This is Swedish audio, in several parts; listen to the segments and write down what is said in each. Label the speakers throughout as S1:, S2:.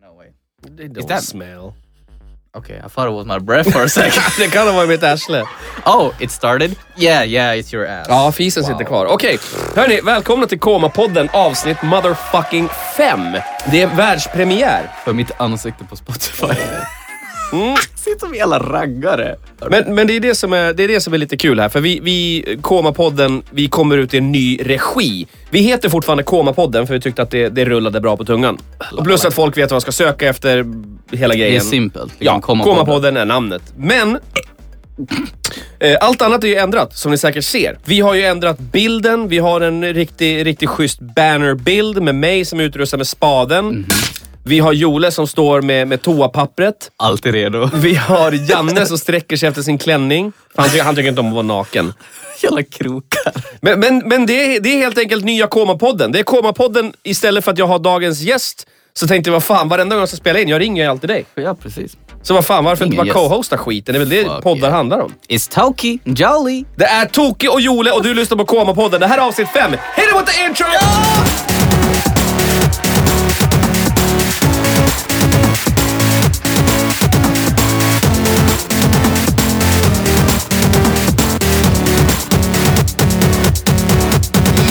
S1: No way.
S2: They don't
S1: that-
S2: smell.
S1: Okay, I thought it was my breath for a second.
S2: Det kan ha varit mitt arsle.
S1: oh, it started? Yeah, yeah, it's your ass.
S2: Ja, fisen sitter kvar. Okej, hörni, välkomna till Koma-podden avsnitt motherfucking 5. Det är världspremiär.
S1: För mitt ansikte på Spotify. Sitter som en jävla raggare.
S2: Men, men det, är det, som är, det är det som är lite kul här, för vi, vi Koma-podden, vi kommer ut i en ny regi. Vi heter fortfarande Koma-podden för vi tyckte att det, det rullade bra på tungan. Och plus att folk vet vad de ska söka efter hela
S1: Det är
S2: grejen.
S1: simpelt.
S2: Ja,
S1: komma
S2: Komapodden är namnet. Men eh, allt annat är ju ändrat, som ni säkert ser. Vi har ju ändrat bilden, vi har en riktigt riktig schysst bannerbild med mig som är utrustad med spaden. Vi har Jole som står med, med toapappret.
S1: Alltid redo.
S2: Vi har Janne som sträcker sig efter sin klänning. För han, tycker, han tycker inte om att vara naken.
S1: Jävla krokar.
S2: Men, men, men det, är, det är helt enkelt nya Komapodden. Det är Komapodden istället för att jag har dagens gäst. Så tänkte jag, vad fan, varenda gång jag ska spela in, jag ringer ju alltid dig.
S1: Ja, precis.
S2: Så vad fan, varför
S1: Ingen
S2: inte bara
S1: gäst.
S2: co-hosta skiten? Det är väl det
S1: Fuck
S2: poddar
S1: yeah.
S2: handlar om?
S1: It's Toki Jolly.
S2: Det är Toki och Jole och du lyssnar på Koma-podden. Det här är avsnitt 5. Hit it with the intro!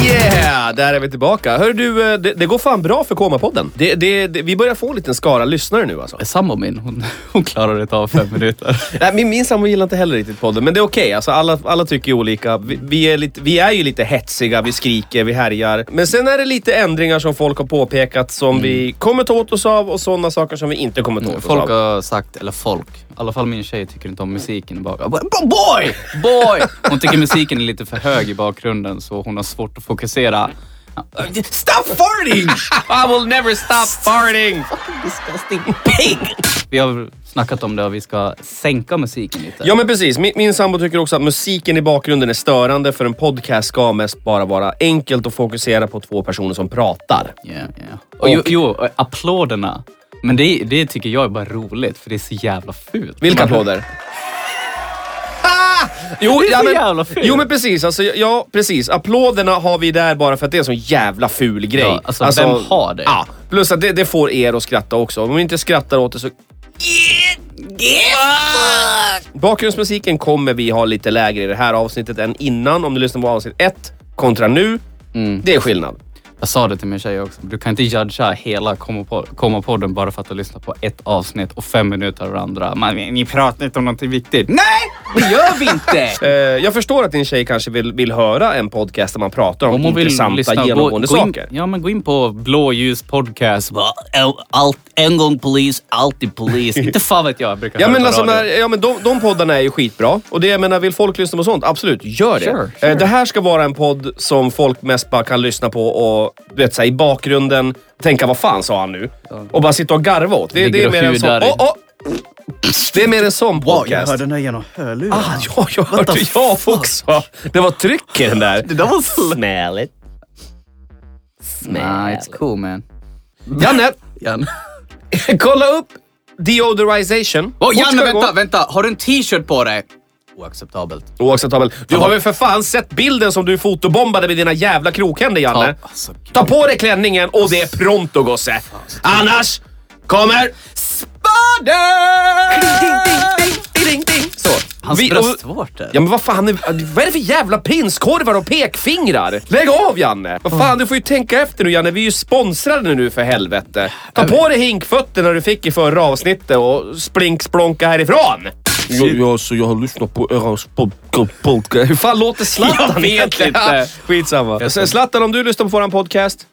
S2: Yeah! Där är vi tillbaka. Hör du, eh, det, det går fan bra för Koma-podden. Det, det, det, vi börjar få en liten skara lyssnare nu alltså.
S1: Sambo min, hon, hon klarade det av fem minuter.
S2: Nej, min, min sambo gillar inte heller riktigt podden, men det är okej. Alltså, alla, alla tycker ju olika. Vi, vi, är lite, vi är ju lite hetsiga, vi skriker, vi härjar. Men sen är det lite ändringar som folk har påpekat som vi kommer ta åt oss av och sådana saker som vi inte kommer ta åt oss
S1: Mm. Folk
S2: av.
S1: har sagt, eller folk, i alla fall min tjej tycker inte om musiken i bakgrunden. Boy! Boy! Hon tycker musiken är lite för hög i bakgrunden så hon har svårt att fokusera. Stop farting! I will never stop
S2: Farting!
S1: disgusting pig! Vi har snackat om det och vi ska sänka musiken lite.
S2: Ja men precis, min, min sambo tycker också att musiken i bakgrunden är störande för en podcast ska mest bara vara enkelt och fokusera på två personer som pratar.
S1: Yeah, yeah. Och, jo, jo, och applåderna. Men det, det tycker jag är bara roligt för det är så jävla fult.
S2: Vilka
S1: Man-
S2: applåder? Ah! Jo,
S1: Det är
S2: ja,
S1: så
S2: men,
S1: jävla fult.
S2: jo men precis, alltså, ja precis. Applåderna har vi där bara för att det är en sån jävla ful grej.
S1: Ja, alltså, vem har det?
S2: Ja, plus att det, det får er att skratta också. Om vi inte skrattar åt det så... Bakgrundsmusiken kommer vi ha lite lägre i det här avsnittet än innan. Om du lyssnar på avsnitt ett kontra nu.
S1: Mm.
S2: Det är skillnad.
S1: Jag sa det till min tjej också. Du kan inte judga hela Komma-podden bara för att du lyssnar på ett avsnitt och fem minuter av det andra. Man, ni pratar inte om någonting viktigt. Nej, det gör vi inte!
S2: Eh, jag förstår att din tjej kanske vill, vill höra en podcast där man pratar om,
S1: Om hon vill
S2: intressanta
S1: lyssna,
S2: genomgående
S1: gå, gå in,
S2: saker.
S1: Ja, men gå in på Blåljus podcast. Bara, "Al- Allt, en gång polis, alltid polis. inte fan vet jag. jag brukar
S2: Ja
S1: höra
S2: men,
S1: på
S2: alltså,
S1: radio.
S2: när, ja, men de, de poddarna är ju skitbra. Och det, jag menar, vill folk lyssna på sånt, absolut, gör det.
S1: Sure, sure.
S2: Eh, Det här ska vara en podd som folk mest bara kan lyssna på och du vet, så här, i bakgrunden tänka vad fan sa han nu? Och bara sitta och garva åt. Det, det
S1: Ligger
S2: är
S1: och
S2: mer en sån...
S1: hudar i-
S2: Oh, oh! Det är mer en sån podcast.
S1: den här genom hörlurarna.
S2: Ah, ja, jag hörde jag också. Det var tryck i den där.
S1: Det där var så...
S2: Snälligt.
S1: Nah, it's cool man.
S2: Janne,
S1: Jan.
S2: kolla upp deodorization.
S1: Oh,
S2: Fort
S1: Janne,
S2: ska det gå.
S1: vänta, vänta. Har du en t-shirt på dig? Oacceptabelt.
S2: Oacceptabel. Du har väl för fan sett bilden som du fotobombade med dina jävla krokhänder, Janne?
S1: Ja, alltså, gud.
S2: Ta på dig klänningen och det är pronto, gosse. Annars kommer... Spader! Så.
S1: Hans
S2: Vi- och-
S1: bröstvårtor.
S2: Ja men vad fan, är, vad är det för jävla prinskorvar och pekfingrar? Lägg av Janne! Vad fan, du får ju tänka efter nu Janne. Vi är ju sponsrade nu för helvete. Ta på dig hinkfötterna du fick i förra avsnittet och splink splonka härifrån.
S3: Jag, jag, så jag har lyssnat på er podcast. podcast.
S2: Hur fan låter Zlatan
S1: Jag vet
S2: egentligen?
S1: inte.
S2: Ja, Skitsamma. Så, Zlatan, om du lyssnar på våran podcast.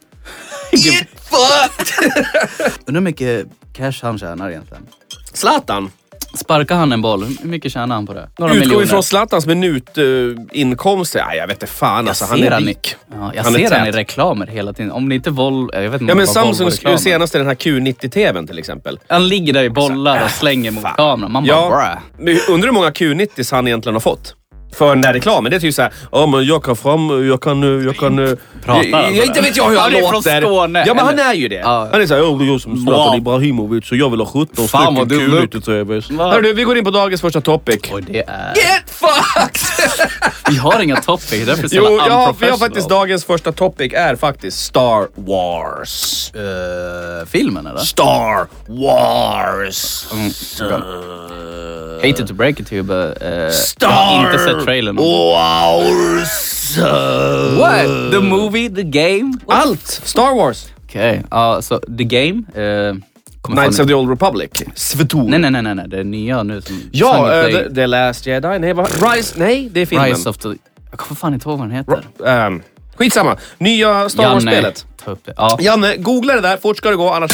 S1: Undrar hur mycket cash han tjänar egentligen.
S2: Zlatan?
S1: Sparkar han en boll, hur mycket tjänar han på det? Några
S2: Utgår
S1: miljoner.
S2: vi från Zlatans minutinkomster? Nej, jag vet inte fan alltså. Han
S1: ser
S2: är
S1: han i-
S2: rik.
S1: Ja, jag
S2: Han är
S1: ser han i
S2: tät.
S1: reklamer hela tiden. Om det inte är Vol... Jag vet inte om
S2: Ja men
S1: det var
S2: Samsungs
S1: Volvo-reklamen.
S2: senaste, den här Q90-tvn till exempel.
S1: Han ligger där i bollar och slänger mot kameran. Man bara
S2: Alltså, äh, Ja,
S1: "Bruh."
S2: men undrar hur många Q90s han egentligen har fått? för den där reklamen. Det är typ såhär...
S3: Ja, men jag kan fram... Jag kan... eh, Jag kan... eh,
S1: Prata. alltså.
S2: Jag, jag, inte vet jag hur han,
S1: Han är från
S2: låter.
S1: Skåne,
S2: Ja, men han
S1: eller?
S2: är ju det.
S1: Ja.
S3: Han är såhär, "Åh, det är jag som
S1: Bra.
S3: Zlatan Ibrahimovic så jag vill ha 17
S1: Fan, vad
S3: stycken
S1: dum
S3: kulor
S1: look.
S3: till TVs.
S2: Hörru du, vi går in på dagens första topic.
S1: Och det är...
S2: Get fucked!
S1: Vi har inga topics, det är därför det är så
S2: Jo,
S1: jävla
S2: jag har, vi har
S1: unprofessional.
S2: faktiskt dagens första topic är faktiskt Star Wars.
S1: Eh, filmen eller?
S2: Star Wars.
S1: Mm.
S2: Mm.
S1: Hated to break it to you, but... eh,
S2: Star
S1: Jag har inte sett trailern.
S2: Wars.
S1: What? The movie? The game?
S2: Allt! Star Wars.
S1: Okej, ja, så The Game. eh, kommer
S2: Knights
S1: fan
S2: of
S1: ut-
S2: the Old Republic. Svetor.
S1: Nej, nej, nej, nej, nej, det är nya nu som...
S2: Ja,
S1: Song
S2: eh,
S1: of
S2: the, the Last Jedi. Nej, vad- Rise. Nej, det är filmen.
S1: Rise of the... Jag kommer fan inte ihåg vad den heter.
S2: Ehm, skitsamma. Nya Star Wars-spelet.
S1: ta upp det. Ja,
S2: Janne, googla det där. Fort ska det gå, annars...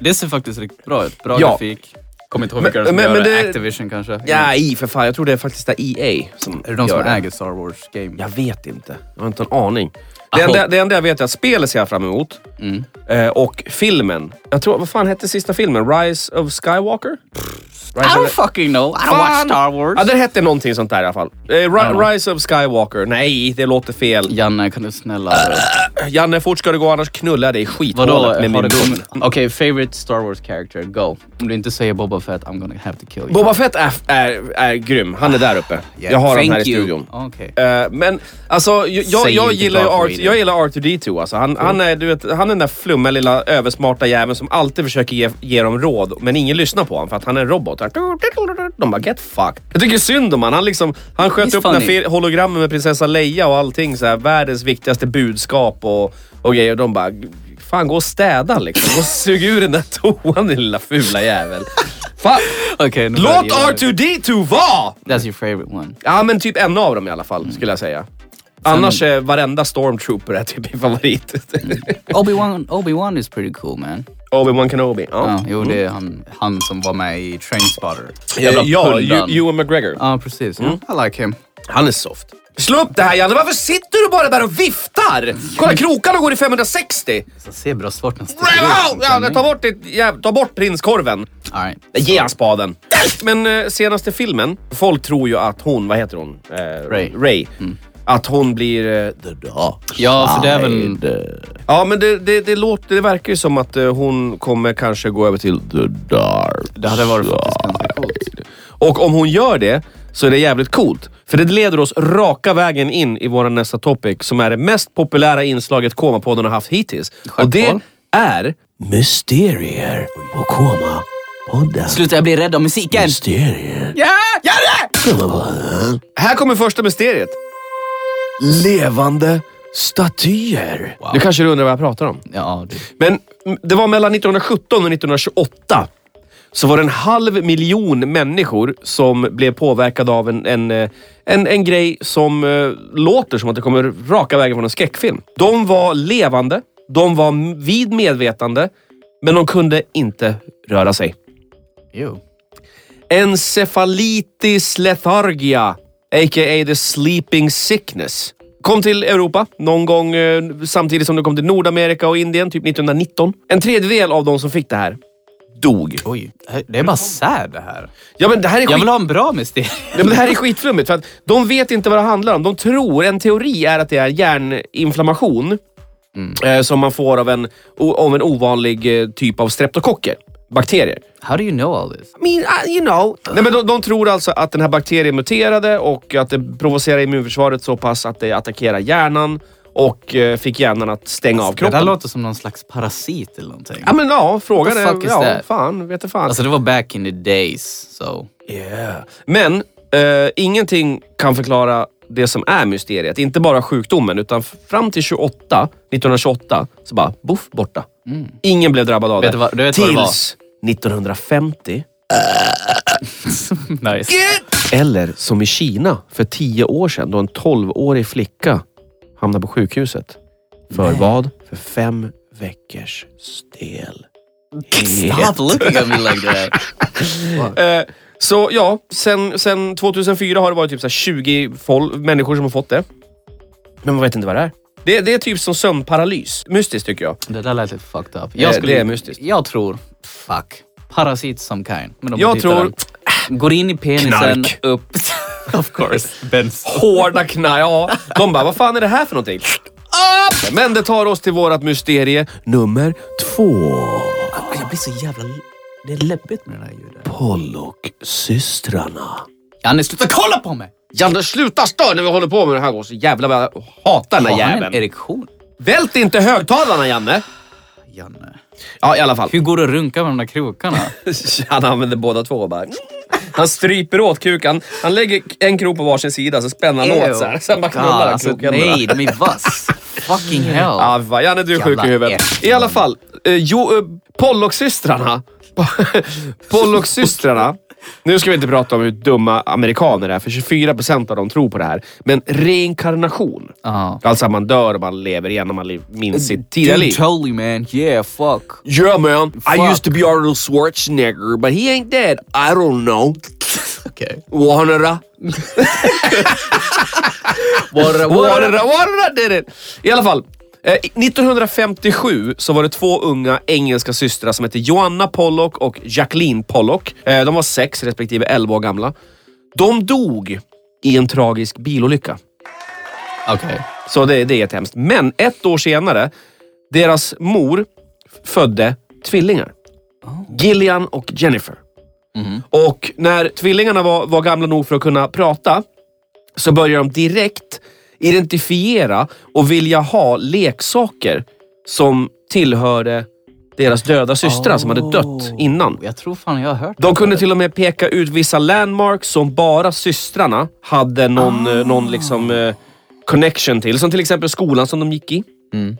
S1: det ser faktiskt riktigt bra ut. Bra
S2: Ja.
S1: grafik. Kommer inte ihåg vilka
S2: Men-
S1: som
S2: men-
S1: gör
S2: men
S1: det.
S2: det-
S1: Activision kanske?
S2: Ja, i för fan. Jag tror det är faktiskt det EA som
S1: Är det de
S2: gör
S1: som
S2: det.
S1: äger Star Wars Game?
S2: Jag vet inte. Jag har inte en aning. Det
S1: Aho.
S2: enda, det enda jag vet är att spelet ser jag fram emot.
S1: Mm.
S2: Eh, och filmen. Jag tror, vad fan hette sista filmen? Rise of Skywalker? Rise
S1: I
S2: of
S1: don't
S2: the-
S1: fucking know. I don't watch
S2: Fan!
S1: Star Wars.
S2: Ja, den hette någonting sånt där i alla fall. Eh, Ri-
S1: know.
S2: Rise of Skywalker. Nej, det låter fel.
S1: Janne, kan du snälla...
S2: Janne, fort ska det gå annars knullar jag dig i skithålet
S1: Vadå? har
S2: Äh,
S1: det
S2: med min mun.
S1: kommit- Okej, favorite Star Wars character, go. Om du inte säger Boba Fett, I'm gonna have to kill you.
S2: Boba Fett är, är, är grym. Han är där uppe.
S1: Yeah,
S2: Jag har
S1: thank
S2: honom här i
S1: you.
S2: studion.
S1: Okej.
S2: Eh, men alltså, jag, jag,
S1: Säg
S2: jag,
S1: inte Mm.
S2: gillar ju
S1: varför
S2: Art,
S1: i det.
S2: jag gillar R2D2. Alltså. Han, han, är, du vet, han är den där flummiga lilla översmarta jäveln som alltid försöker ge, ge dem råd, men ingen lyssnar på honom för att han är en robot. De bara get fucked. Jag tycker synd om honom. Han, liksom, han sköt
S1: He's
S2: upp den här
S1: funny.
S2: fe- hologrammen med prinsessa Leia och allting. Så här, världens viktigaste budskap och, och grejer. Och de bara, fan gå och städa liksom. Och sug ur den där toan din lilla fula jävel. Fan.
S1: Okej, nu börjar
S2: Låt
S1: jag-
S2: R2D2 vara!
S1: That's your favorite one.
S2: Ja, men typ en av dem i alla fall, skulle jag säga. Annars är varenda stormtrooper är typ min favorit.
S1: Obi-Wan Obi is pretty cool man.
S2: Obi-Wan Kenobi.
S1: Ja,
S2: Ja,
S1: jo, det är han, han som var med i Trainspotter.
S2: Eh, ja, ja
S1: pundan.
S2: Ju- Mm. Ewan McGregor.
S1: Ja, precis. I like him.
S2: Han är soft. Slå upp det här Janne, varför sitter du bara där och viftar? Kolla krokarna går i 560!
S1: Så ser bra svårt när
S2: Wow! Ja, ta bort, ditt, jäv- ta bort prinskorven.
S1: liksom. All right.
S2: Ge han spaden. Men eh, senaste filmen, folk tror ju att hon, vad heter hon? Eh,
S1: Ray.
S2: Ray. Att hon blir... eh, the dark
S1: Ja, för det är väl...
S2: Ja, men det, det, det, låter, det verkar ju som att eh, hon kommer kanske gå över till the dark.
S1: Det hade varit faktiskt ganska coolt.
S2: Och om hon gör det så är det jävligt coolt. För det leder oss raka vägen in i vår nästa topic som är det mest populära inslaget Komapodden har haft hittills. Och det
S1: Självklart.
S2: är...
S4: Mysterier och komma podden.
S1: Sluta, jag blir rädd av musiken!
S4: Mysterier.
S1: Ja! Ja!
S2: Här kommer första mysteriet. Levande
S4: Statyer.
S2: Nu kanske du undrar vad jag pratar om.
S1: Ja, det...
S2: Men mm, det var mellan 1917 och 1928 så var det en halv miljon människor som blev påverkade av en, en, eh, en, en grej som eh, låter som att det kommer raka vägen från en skräckfilm. De var levande, de var m- vid medvetande, men de kunde inte röra sig.
S1: Jo.
S2: Encephalitis lethargia, a.k.a. the sleeping sickness. Kom till Europa någon gång eh, samtidigt som det kom till Nordamerika och Indien, typ 1919. En tredjedel av de som fick det här dog.
S1: Oj, det är bara sad det här.
S2: Ja, men det här är
S1: Jag
S2: skit...
S1: vill ha en bra mysterie.
S2: Ja, men det här är skitflummigt för att de vet inte vad det handlar om. De tror, en teori är att det är hjärninflammation eh, som man får av en, o- av en ovanlig eh, typ av streptokocker, bakterier.
S1: How do you know all this?
S2: I mean, uh, you know. Nej, men de, de tror alltså att den här bakterien muterade och att det provocerar immunförsvaret så pass att det attackerar hjärnan och eh, fick hjärnan att stänga av
S1: Det där
S2: kroppen.
S1: låter som någon slags parasit eller någonting.
S2: Ja, men ja, frågan
S1: What the fuck
S2: är...
S1: is
S2: Ja,
S1: that?
S2: fan, vet du fan.
S1: Alltså det var back in the days, so...
S2: Yeah. Men eh, ingenting kan förklara det som är mysteriet. Inte bara sjukdomen, utan fram till 28, 1928 så bara boff, borta. Ingen blev drabbad av
S1: Mm. Vet
S2: det.
S1: du vad- du vet vad det var?
S2: Tills 1950,
S1: nice.
S2: eller som i Kina för 10 år sedan då en 12-årig flicka hamnade på sjukhuset. För vad? För fem veckors stel.
S1: Stop looking at me like that.
S2: Eh, så ja, sen, sen 2004 har det varit typ så här 20 fol- människor som har fått det. Men man vet inte vad det är. Det, det är typ som sömnparalys. Mystiskt tycker jag.
S1: Det där lät lite fucked up.
S2: Eh, det är mystiskt.
S1: Jag tror, fuck, parasit some kind. Men de
S2: Jag
S1: hittar
S2: tror-
S1: den. Går in i penisen,
S2: Knark.
S1: upp. Of course. Benz.
S2: Hårda knä, ja. De bara, vad fan är det här för någonting? Upp! Men det tar oss till vårat mysterie.
S4: Nummer två.
S1: Jag blir så jävla... Det är läbbigt med det här ljudet.
S4: Pollock-systrarna.
S1: Janne, sluta kolla på mig!
S2: Janne, sluta störa när vi håller på med det här. Och så jävla vad jag hatar den här
S1: Har han en
S2: jäveln.
S1: erektion?
S2: Vält inte högtalarna, Janne.
S1: Janne.
S2: Ja, i alla fall.
S1: Hur går det att runka med de där krokarna?
S2: Han använder båda två och bara... Han stryper åt kukan. Han lägger en krok på varsin sida, så spänner han åt så här. Sen bara knullar han
S1: alltså,
S2: kroken.
S1: Nej, de är vass. Fucking hell.
S2: Ja, vad Janne du är sjuk i
S1: Jävla
S2: huvudet.
S1: äckel.
S2: I alla fall, eh, jo, eh, Pollock-systrarna. Pollock-systrarna. Nu ska vi inte prata om hur dumma amerikaner är, för 24% av dem tror på det här. Men reinkarnation.
S1: Ja.
S2: Alltså att man dör och man lever igen och man li- minns sitt tidiga liv.
S1: Ah. Dude, totally man. Yeah, fuck.
S3: Yeah man, I
S1: Fuck.
S3: used to be Arnold Schwarzenegger, but he ain't dead. I don't know.
S1: Okej.
S3: Warnera.
S2: Warra, warra, did it. I alla fall. eh, 1957 så var det två unga engelska systrar som hette Joanna Pollock och Jacqueline Pollock. Eh, De var sex respektive elva år gamla. De dog i en tragisk bilolycka.
S1: Okej.
S2: Så det, det är jättehemskt. Men ett år senare, deras mor f- födde tvillingar. Gillian och Jennifer. Och när tvillingarna var, var gamla nog för att kunna prata så började de direkt identifiera och vilja ha leksaker som tillhörde deras döda systrar som hade dött innan.
S1: Jag tror fan jag har hört
S2: De kunde till och med peka ut vissa landmarks som bara systrarna hade någon, eh,
S1: Ah.
S2: någon liksom, eh, connection till. Som till exempel skolan som de gick i.
S1: Mm.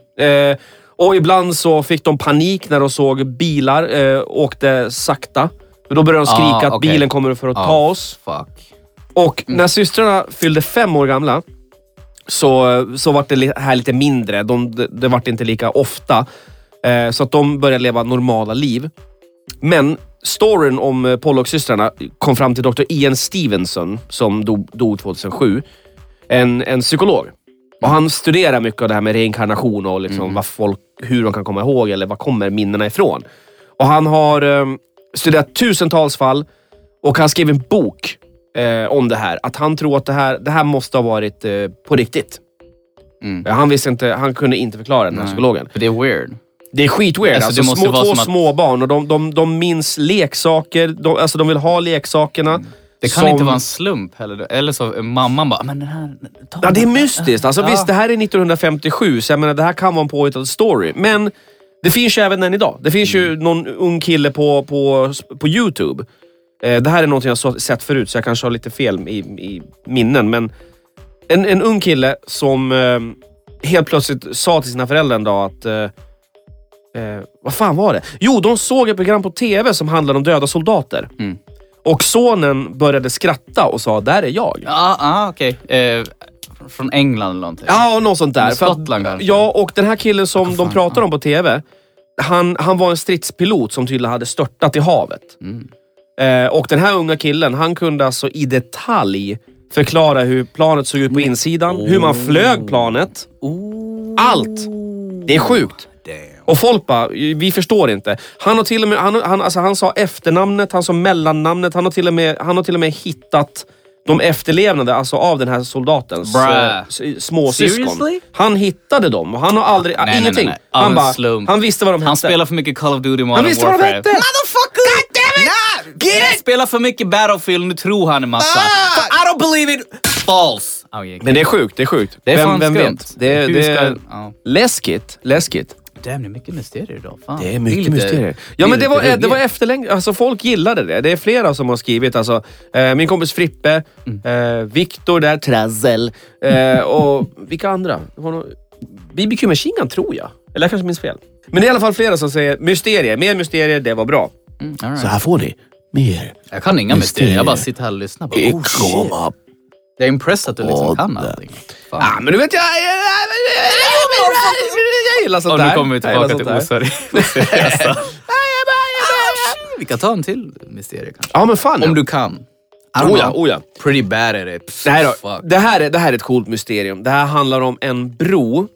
S2: Eh, och ibland så fick de panik när de såg bilar eh, åkte sakta. Då började de skrika
S1: Ah,
S2: att
S1: okej.
S2: bilen kommer för att
S1: Ah. Mm.
S2: ta oss.
S1: Fuck.
S2: Och när systrarna fyllde fem år gamla så, eh, så var det li- här lite mindre. De, det, det var inte lika ofta. Eh, så att de började leva normala liv. Men storyn om eh, Pollock-systrarna kom fram till Dr. Ian Stevenson som dog, dog 2007. En, en psykolog. Och han studerar mycket av det här med reinkarnation och liksom vad folk, hur de kan komma ihåg eller vad kommer minnena ifrån. Och han har eh, studerat tusentals fall och han skrev en bok eh, om det här. Att han tror att det här, det här måste ha varit eh, på riktigt.
S1: Mm.
S2: Eh, Han, visste inte, han kunde inte förklara den här psykologen.
S1: För det är weird.
S2: Det är skitweird. Alltså,
S1: Alltså, det måste
S2: små,
S1: vara
S2: två
S1: som att-
S2: småbarn och de, de, de minns leksaker. De, alltså de vill ha leksakerna.
S1: Mm. Det kan
S2: som-
S1: inte vara en slump heller. Eller så är mamman bara, men den här... ta
S2: Ja, det är
S1: den."
S2: mystiskt. Alltså,
S1: Ja.
S2: Visst, det här är 1957, så jag menar, det här kan vara en påhittad story. Men det finns ju även den idag. Det finns
S1: Mm.
S2: ju någon ung kille på, på, på YouTube. Eh, det här är någonting jag så, sett förut, så jag kanske har lite fel i, i minnen. Men en, en ung kille som eh, helt plötsligt sa till sina föräldrar en dag att... Eh, eh, vad fan var det? Jo, de såg ett program på TV som handlade om döda soldater.
S1: Mm.
S2: Och sonen började skratta och sa, där är jag.
S1: Ja, ah, okej. Eh, från England eller någonting.
S2: Ja, något sånt där.
S1: Eller
S2: För att-
S1: Skottland kanske.
S2: Ja, och den här killen som de
S1: fan,
S2: pratar om på TV, han, han var en stridspilot som tydligen hade störtat i havet.
S1: Mm.
S2: Eh, och den här unga killen, han kunde alltså i detalj förklara hur planet såg ut på insidan, hur man
S1: Oh.
S2: flög planet. Allt! Det är sjukt. Och folk bara, vi förstår inte. Han har till och med, han, han, alltså han sa efternamnet, han sa mellannamnet, han har till och med, han har till och med hittat de efterlevande, alltså av den här soldatens
S1: Bruh.
S2: eh, s- småsyskon.
S1: Seriously?
S2: Han hittade dem och han har aldrig,
S1: nej, nej,
S2: ingenting.
S1: nej. Av
S2: Han,
S1: en
S2: bara,
S1: slump.
S2: han visste vad de
S1: Han
S2: hette.
S1: spelar för mycket Call of Duty Modern
S2: han visste vad de
S1: Warfare.
S2: hette!
S1: Han spelar för mycket Battlefield, nu tror han en massa. I don't believe it! False! Oh, yeah.
S2: Men det är sjukt, det är sjukt.
S1: Det är fan
S2: vem
S1: skumt.
S2: vet? Det är,
S1: Hur
S2: det
S1: ska-
S2: är
S1: ja.
S2: läskigt, läskigt.
S1: Damn, det är mycket mysterier idag. Fan.
S2: Det är mycket mysterier. Ja, men det var, det var efterlängt. Alltså folk gillade det. Det är flera som har skrivit. Alltså, eh, min kompis Frippe, eh, Viktor där, Trazel eh, och vilka andra? Det var nog BBQ Machine Gun, tror jag. Eller jag kanske minns fel. Men det är i alla fall flera som säger mysterier. Mer mysterier, det var bra.
S1: Mm, all
S4: Så
S1: right.
S4: här får ni mer.
S1: Jag kan inga mysterier,
S4: mysterier.
S1: jag bara sitter här och lyssnar. Bara, oh, shit.
S4: Komma
S1: jag är impressed att du liksom kan
S4: Åh,
S1: allting. Fan.
S2: Ah, men du vet, jag... Jag gillar sånt
S1: och
S2: där.
S1: nu kommer vi
S2: Jag gillar
S1: tillbaka
S2: sånt
S1: till
S2: där.
S1: oseriösa. vi kan ta en till mysterie kanske.
S2: Ja, men fan.
S1: Om du kan. I don't
S2: Oh ja,
S1: know.
S2: oh ja.
S1: Pretty bad at it. Pff,
S2: Det här, då,
S1: fuck.
S2: det, här är, det här är ett coolt mysterium. Det här handlar om en bro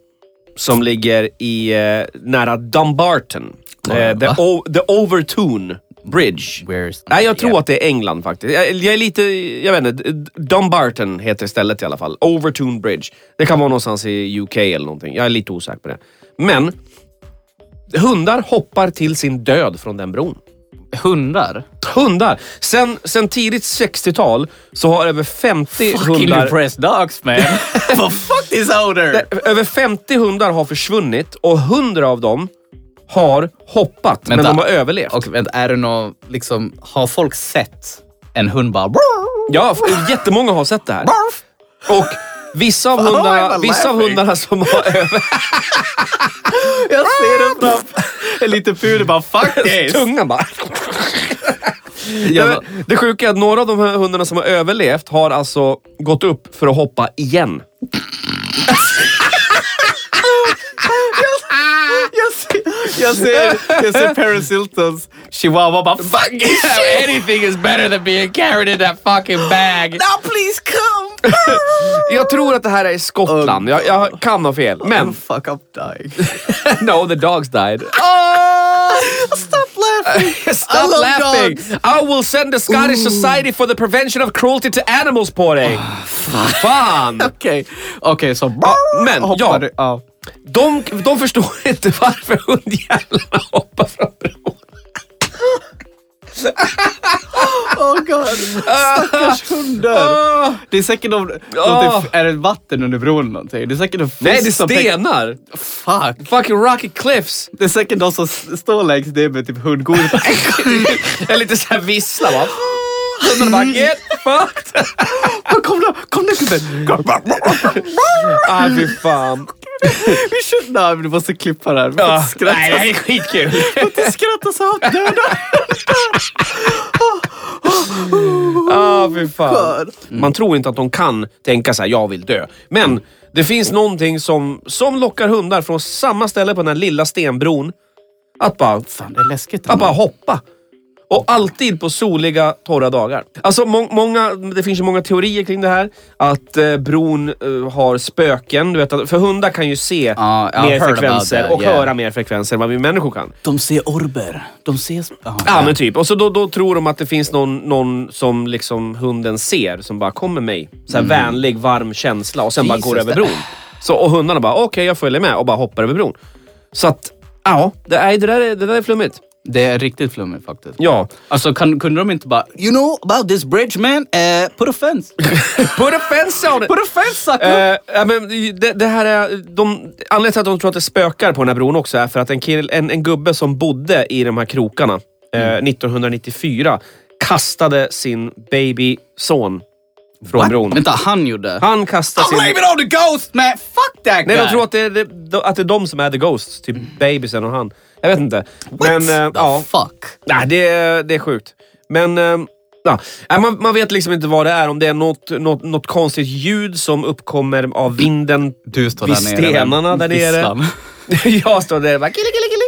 S2: som ligger i, eh, nära Dumbarton. Eh, the,
S1: va?
S2: o- the Overtune Bridge.
S1: Where's...
S2: Nej, jag tror att det är England faktiskt. Jag, jag är lite, jag vet inte, D- Dumbarton heter stället i alla fall. Overtune Bridge. Det kan vara någonstans i UK eller någonting. Jag är lite osäker på det. Men, hundar hoppar till sin död från den bron.
S1: Hundar?
S2: Hundar! Sen, sen tidigt 60-tal så har över 50 hundar...
S1: press dogs man. But fuck this odor!
S2: Eh, Över 50 hundar har försvunnit och 100 av dem har hoppat, men
S1: Vänta.
S2: de har överlevt.
S1: Och vänta, är det någon, liksom, har folk sett en hund bara...
S2: Ja, f- jättemånga har sett det här. Och vissa av hundarna,
S1: I'm
S2: vissa av
S1: laughing.
S2: hundarna som har över...
S1: Jag ser det framför En liten puder bara fuck this!
S2: Tungan bara...
S1: Jag bara,
S2: Det sjuka är att några av de här hundarna som har överlevt har alltså gått upp för att hoppa igen.
S1: jag, ser, jag, ser, jag ser Paris Hiltons chihuahua bara fuck this shit!
S4: Anything is better than being carried in that fucking bag.
S1: Now please come!
S2: Jag tror att det här är i Skottland. Jag, jag kan ha fel. Men...
S1: fuck up dying.
S2: No, the dogs died.
S1: Ah! Stop laughing! I
S2: Stop
S1: love
S2: laughing!
S1: dogs.
S2: I will send the Scottish Society for the Prevention of Cruelty to Animals på dig! Fan!
S1: Okej, okej så...
S2: men,
S1: hoppar
S2: ja.
S1: du- ja.
S2: De, de förstår inte varför hundjävlarna hoppar från bron.
S1: Oh god, stackars hundar.
S2: Ah,
S1: Det är säkert någon...
S2: Ah.
S1: någon typ, är det vatten under bron eller någonting? Det är säkert en fisk
S2: Nej, det är liksom
S1: som tänker-
S2: stenar!
S1: Fuck!
S2: Fucking Rocky Cliffs!
S1: Det är säkert någon som s- står längst ner med typ hundgodis.
S2: Jag är lite såhär vissla va. Hundarna bara get fucked!
S1: Åh, kom då, kom då gubben! Kom.
S2: Ah, fy fan.
S1: Vi should... Nej, vi måste klippa det här. Vi får
S2: Ja.
S1: inte skratta.
S2: Ah. Nej, det här är skitkul.
S1: Vi får inte skratta så här åt döda
S2: Ah, fy fan.
S1: hundar.
S2: Man tror inte att de kan tänka så här, jag vill dö. Men det finns någonting som, som lockar hundar från samma ställe på den här lilla stenbron att bara,
S1: Fan, det är läskigt.
S2: att
S1: ändå.
S2: bara hoppa. Och alltid på soliga, torra dagar. Alltså, må många, det finns ju många teorier kring det här. Att eh, bron eh, har spöken. Du vet, att, för hundar kan ju se
S1: Ja, jag har
S2: mer
S1: heard about
S2: frekvenser
S1: that,
S2: och
S1: yeah.
S2: höra mer frekvenser än vad vi människor kan.
S1: De ser orber. De ser... Ja,
S2: Ja, men typ. Och så då, då tror de att det finns någon, någon som liksom hunden ser, som bara kommer mig. Så här vänlig, varm känsla och sen bara
S1: Mm. Jesus,
S2: går över
S1: det-
S2: bron. Så, och hundarna bara, okej, jag följer med och bara hoppar över bron. Så att, ja, det, nej, det, där, är, det där är flummigt.
S1: Det är riktigt flummigt faktiskt.
S2: Ja.
S1: Alltså kan, kunde de inte bara, you know about this bridge man, eh, put a fence.
S2: Put a fence on it!
S1: Put a fence sucker!
S2: Eh, ja, men det, det här är, de, anledningen till att de tror att det spökar på den här bron också är för att en, kill, en, en gubbe som bodde i de här krokarna eh, 1994 kastade sin babyson från
S1: What?
S2: bron.
S1: Vänta, han gjorde?
S2: Han kastade sin...
S1: it on the ghost man, fuck that
S2: Nej, de tror att det, är, det, att det är de som är the ghosts. Typ babysen och han. Jag vet inte. Men eh,
S1: the
S2: ja,
S1: fuck?
S2: nej, det, är- det är sjukt. Men eh, ja, Nej, man, man vet liksom inte vad det är. Om det är något, något, något konstigt ljud som uppkommer av vinden.
S1: Du står
S2: Vid
S1: där nere. med
S2: stenarna där nere.
S1: visslan.
S2: Jag står där och bara kille, kille, kille.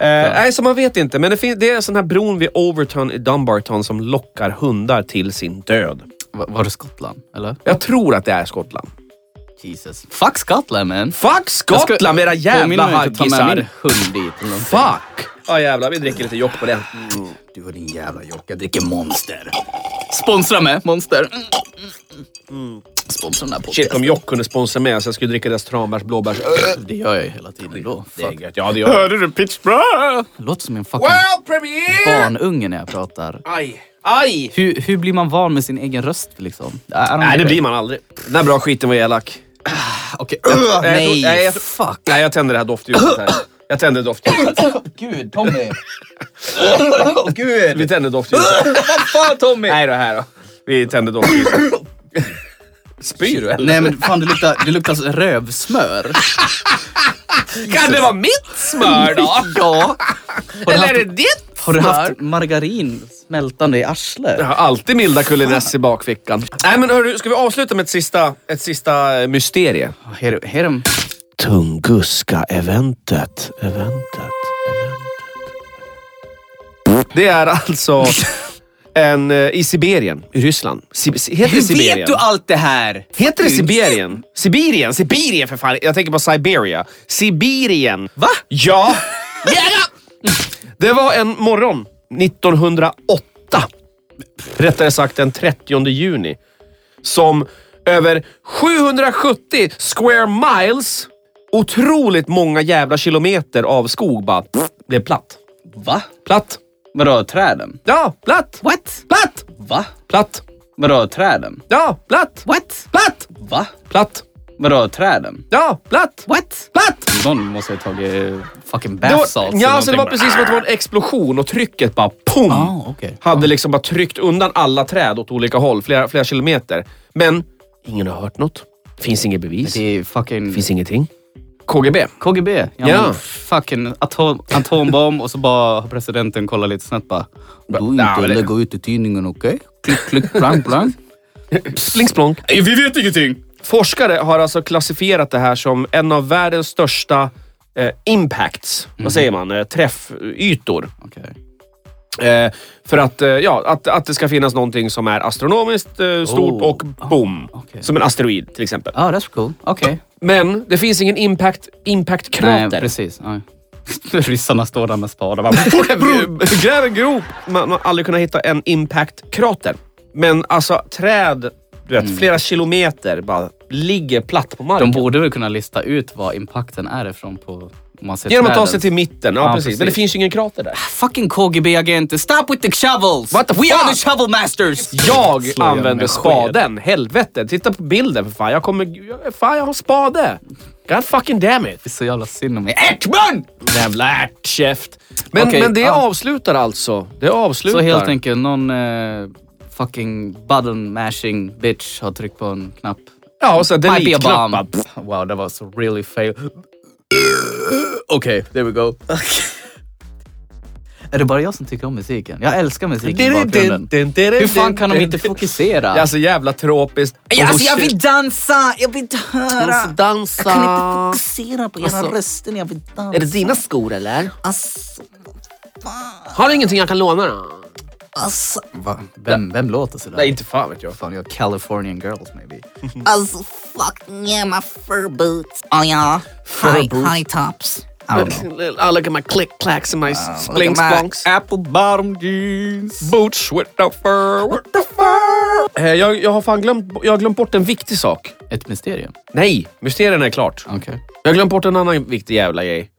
S2: Eh, Nej, så man vet inte. Men det, fin- det är en sån här bron vid Overton i Dumbarton som lockar hundar till sin död.
S1: Va- Var det Skottland, eller?
S2: Jag tror att det är Skottland.
S1: Jesus. Fuck Skottland man.
S2: Fuck
S1: Jag ska-
S2: Skottland, era jävla
S1: Påminn mig inte att ta med min
S2: haggisar!
S1: hund dit. eller någonting.
S2: Fuck! Ja jävlar, vi dricker lite jock på det.
S1: Du och din jävla jocke, jag dricker Monster. Sponsra mig, Monster. Mm, mm, mm. Sponsra den här podden.
S2: Shit, om Jock kunde sponsra mig så jag skulle dricka deras tranbärs, blåbärs... Äh,
S1: Det gör jag ju hela tiden då.
S2: Det är
S1: Fuck.
S2: gött. Ja, det gör jag.
S3: du Pittsburgh?
S1: Låter som en fucking
S2: World premiere!
S1: barnunge när jag pratar.
S2: Aj! Aj!
S1: Hur, hur blir man van med sin egen röst liksom?
S2: Nej, det blir man aldrig. Den där bra skiten var elak.
S1: Okej.
S2: Nej,
S1: Ah, Nej,
S2: jag-
S1: fuck.
S2: Nej, jag tänder det här doftljuset här. Jag tänder doftljuset.
S1: Gud, Tommy. Åh, Gud.
S2: Vi tänder doftljuset.
S1: Vad fan Tommy?
S2: Nej då, här då. Vi tänder doftljuset. Spyr du eller?
S1: Nej men fan det luktar, det luktar så rövsmör.
S2: Kan det vara mitt smör då?
S1: Ja. Har du, haft,
S2: ditt
S1: har du haft margarin smältande i arslet?
S2: Jag har alltid milda kulleress i bakfickan. Nej men hörru, ska vi avsluta med ett sista, ett sista eh, mysterie?
S1: Här, här, är-
S4: Tunguska-eventet. Eventet.
S2: Det är alltså en, eh, i Sibirien, i Ryssland. Si- si- heter det Sibirien?
S1: allt det här?
S2: Heter det Sibirien? Sibirien, Sibirien för fan. Jag tänker på Siberia. Sibirien.
S1: Va?
S2: Ja. Det var en morgon 1908. Rättare sagt den 30 juni. Som över 770 square miles, otroligt många jävla kilometer av skog bara pff, blev platt.
S1: Va?
S2: Platt.
S1: Vadå, träden?
S2: Ja, platt.
S1: What?
S2: Platt.
S1: Va?
S2: Platt.
S1: Vadå, träden?
S2: Ja, platt.
S1: What?
S2: Platt.
S1: Va?
S2: Platt.
S1: Vadå, träden?
S2: Ja, platt.
S1: What?
S2: Platt.
S1: Någon måste ha tagit eh, fucking
S2: Det
S1: bath
S2: var,
S1: salts eller
S2: ja, så det var
S1: någonting.
S2: precis som att det var en explosion och trycket bara pum!
S1: Ah, okej.
S2: Hade liksom bara tryckt undan alla träd åt olika håll, flera, flera kilometer. Men ingen har hört något. Finns inget bevis.
S1: Det är fucking...
S2: Finns ingenting. KGB.
S1: KGB. Ja,
S2: Ja.
S1: men Fucking atom, atombomb och så bara har presidenten kollar lite snett bara. Du är
S2: nej, men det-
S1: ut i tidningen, okej? Klick, klick, blank, blank.
S2: Slingsplonk.
S1: Vi vet ingenting.
S2: Forskare har alltså klassifierat det här som en av världens största eh, impacts.
S1: Mhm.
S2: Vad säger man? Eh, träffytor.
S1: Okej.
S2: Eh, för att, eh, ja, att, att det ska finnas någonting som är astronomiskt eh, stort
S1: Oh.
S2: och boom.
S1: okej.
S2: Som en asteroid till exempel.
S1: Ah, that's cool. Okej.
S2: Men det finns ingen impact,
S1: Nej,
S2: impactkrater.
S1: precis. Ja. Ryssarna står där med spadar bara...
S2: Gräv en grop! Man man har aldrig kunnat hitta en impactkrater. Men alltså träd, du vet, flera kilometer bara ligger platt på marken.
S1: Mm. De borde väl kunna lista ut var impakten är ifrån på... Om man ser
S2: Genom att ta
S1: träden.
S2: sig till mitten. Ja,
S1: Ja,
S2: precis. Men det
S1: precis.
S2: finns ju ingen krater där.
S1: Fucking KGB-agenter, stop with the shovels!
S2: What the
S1: We
S2: fuck?
S1: are the shovel masters!
S2: Jag
S1: Slår jag
S2: använder
S1: med
S2: spaden. Helvete. Titta på bilden för fan. Jag kommer... jag- Fan, jag har spade. God fucking damn it.
S1: Det är så jävla synd om mig. Ärtman!
S2: Jävla ärtkäft. Men,
S1: Okej,
S2: men det
S1: ja.
S2: avslutar alltså. Det avslutar.
S1: Så helt enkelt, någon eh, fucking button mashing bitch har tryckt på en knapp.
S2: Ja, och så
S1: Might be a
S2: delete-knappar.
S1: bomb. Wow, that was really fail. Okej, there we go. är det bara jag som tycker om musiken? Jag älskar musiken i bakgrunden. Hur fan kan de inte fokusera?
S2: Det är alltså jävla Oh, tropiskt.
S1: Alltså, jag vill dansa, jag vill inte höra.
S2: dansa.
S1: Jag kan inte fokusera på era röster när jag vill dansa.
S2: dina skor eller?
S1: Alltså,
S2: Har du ingenting jag kan låna då?
S1: alltså. Va? Vem, vem låter sådär?
S2: Nej, inte fan vet jag.
S1: Fan, jag Californian girls maybe.
S5: As fuck yeah, my fur boots. Oh yeah, high high tops.
S1: I don't know.
S2: I look at my click clacks and my uh,
S5: at my
S1: Apple bottom jeans.
S2: Boots with the fur, with the fur. Eh, jag, jag har fan glömt, jag har glömt bort en viktig sak.
S1: Ett mysterium.
S2: Nej, mysterierna är klart.
S1: Okej.
S2: Jag har glömt bort en annan viktig jävla grej.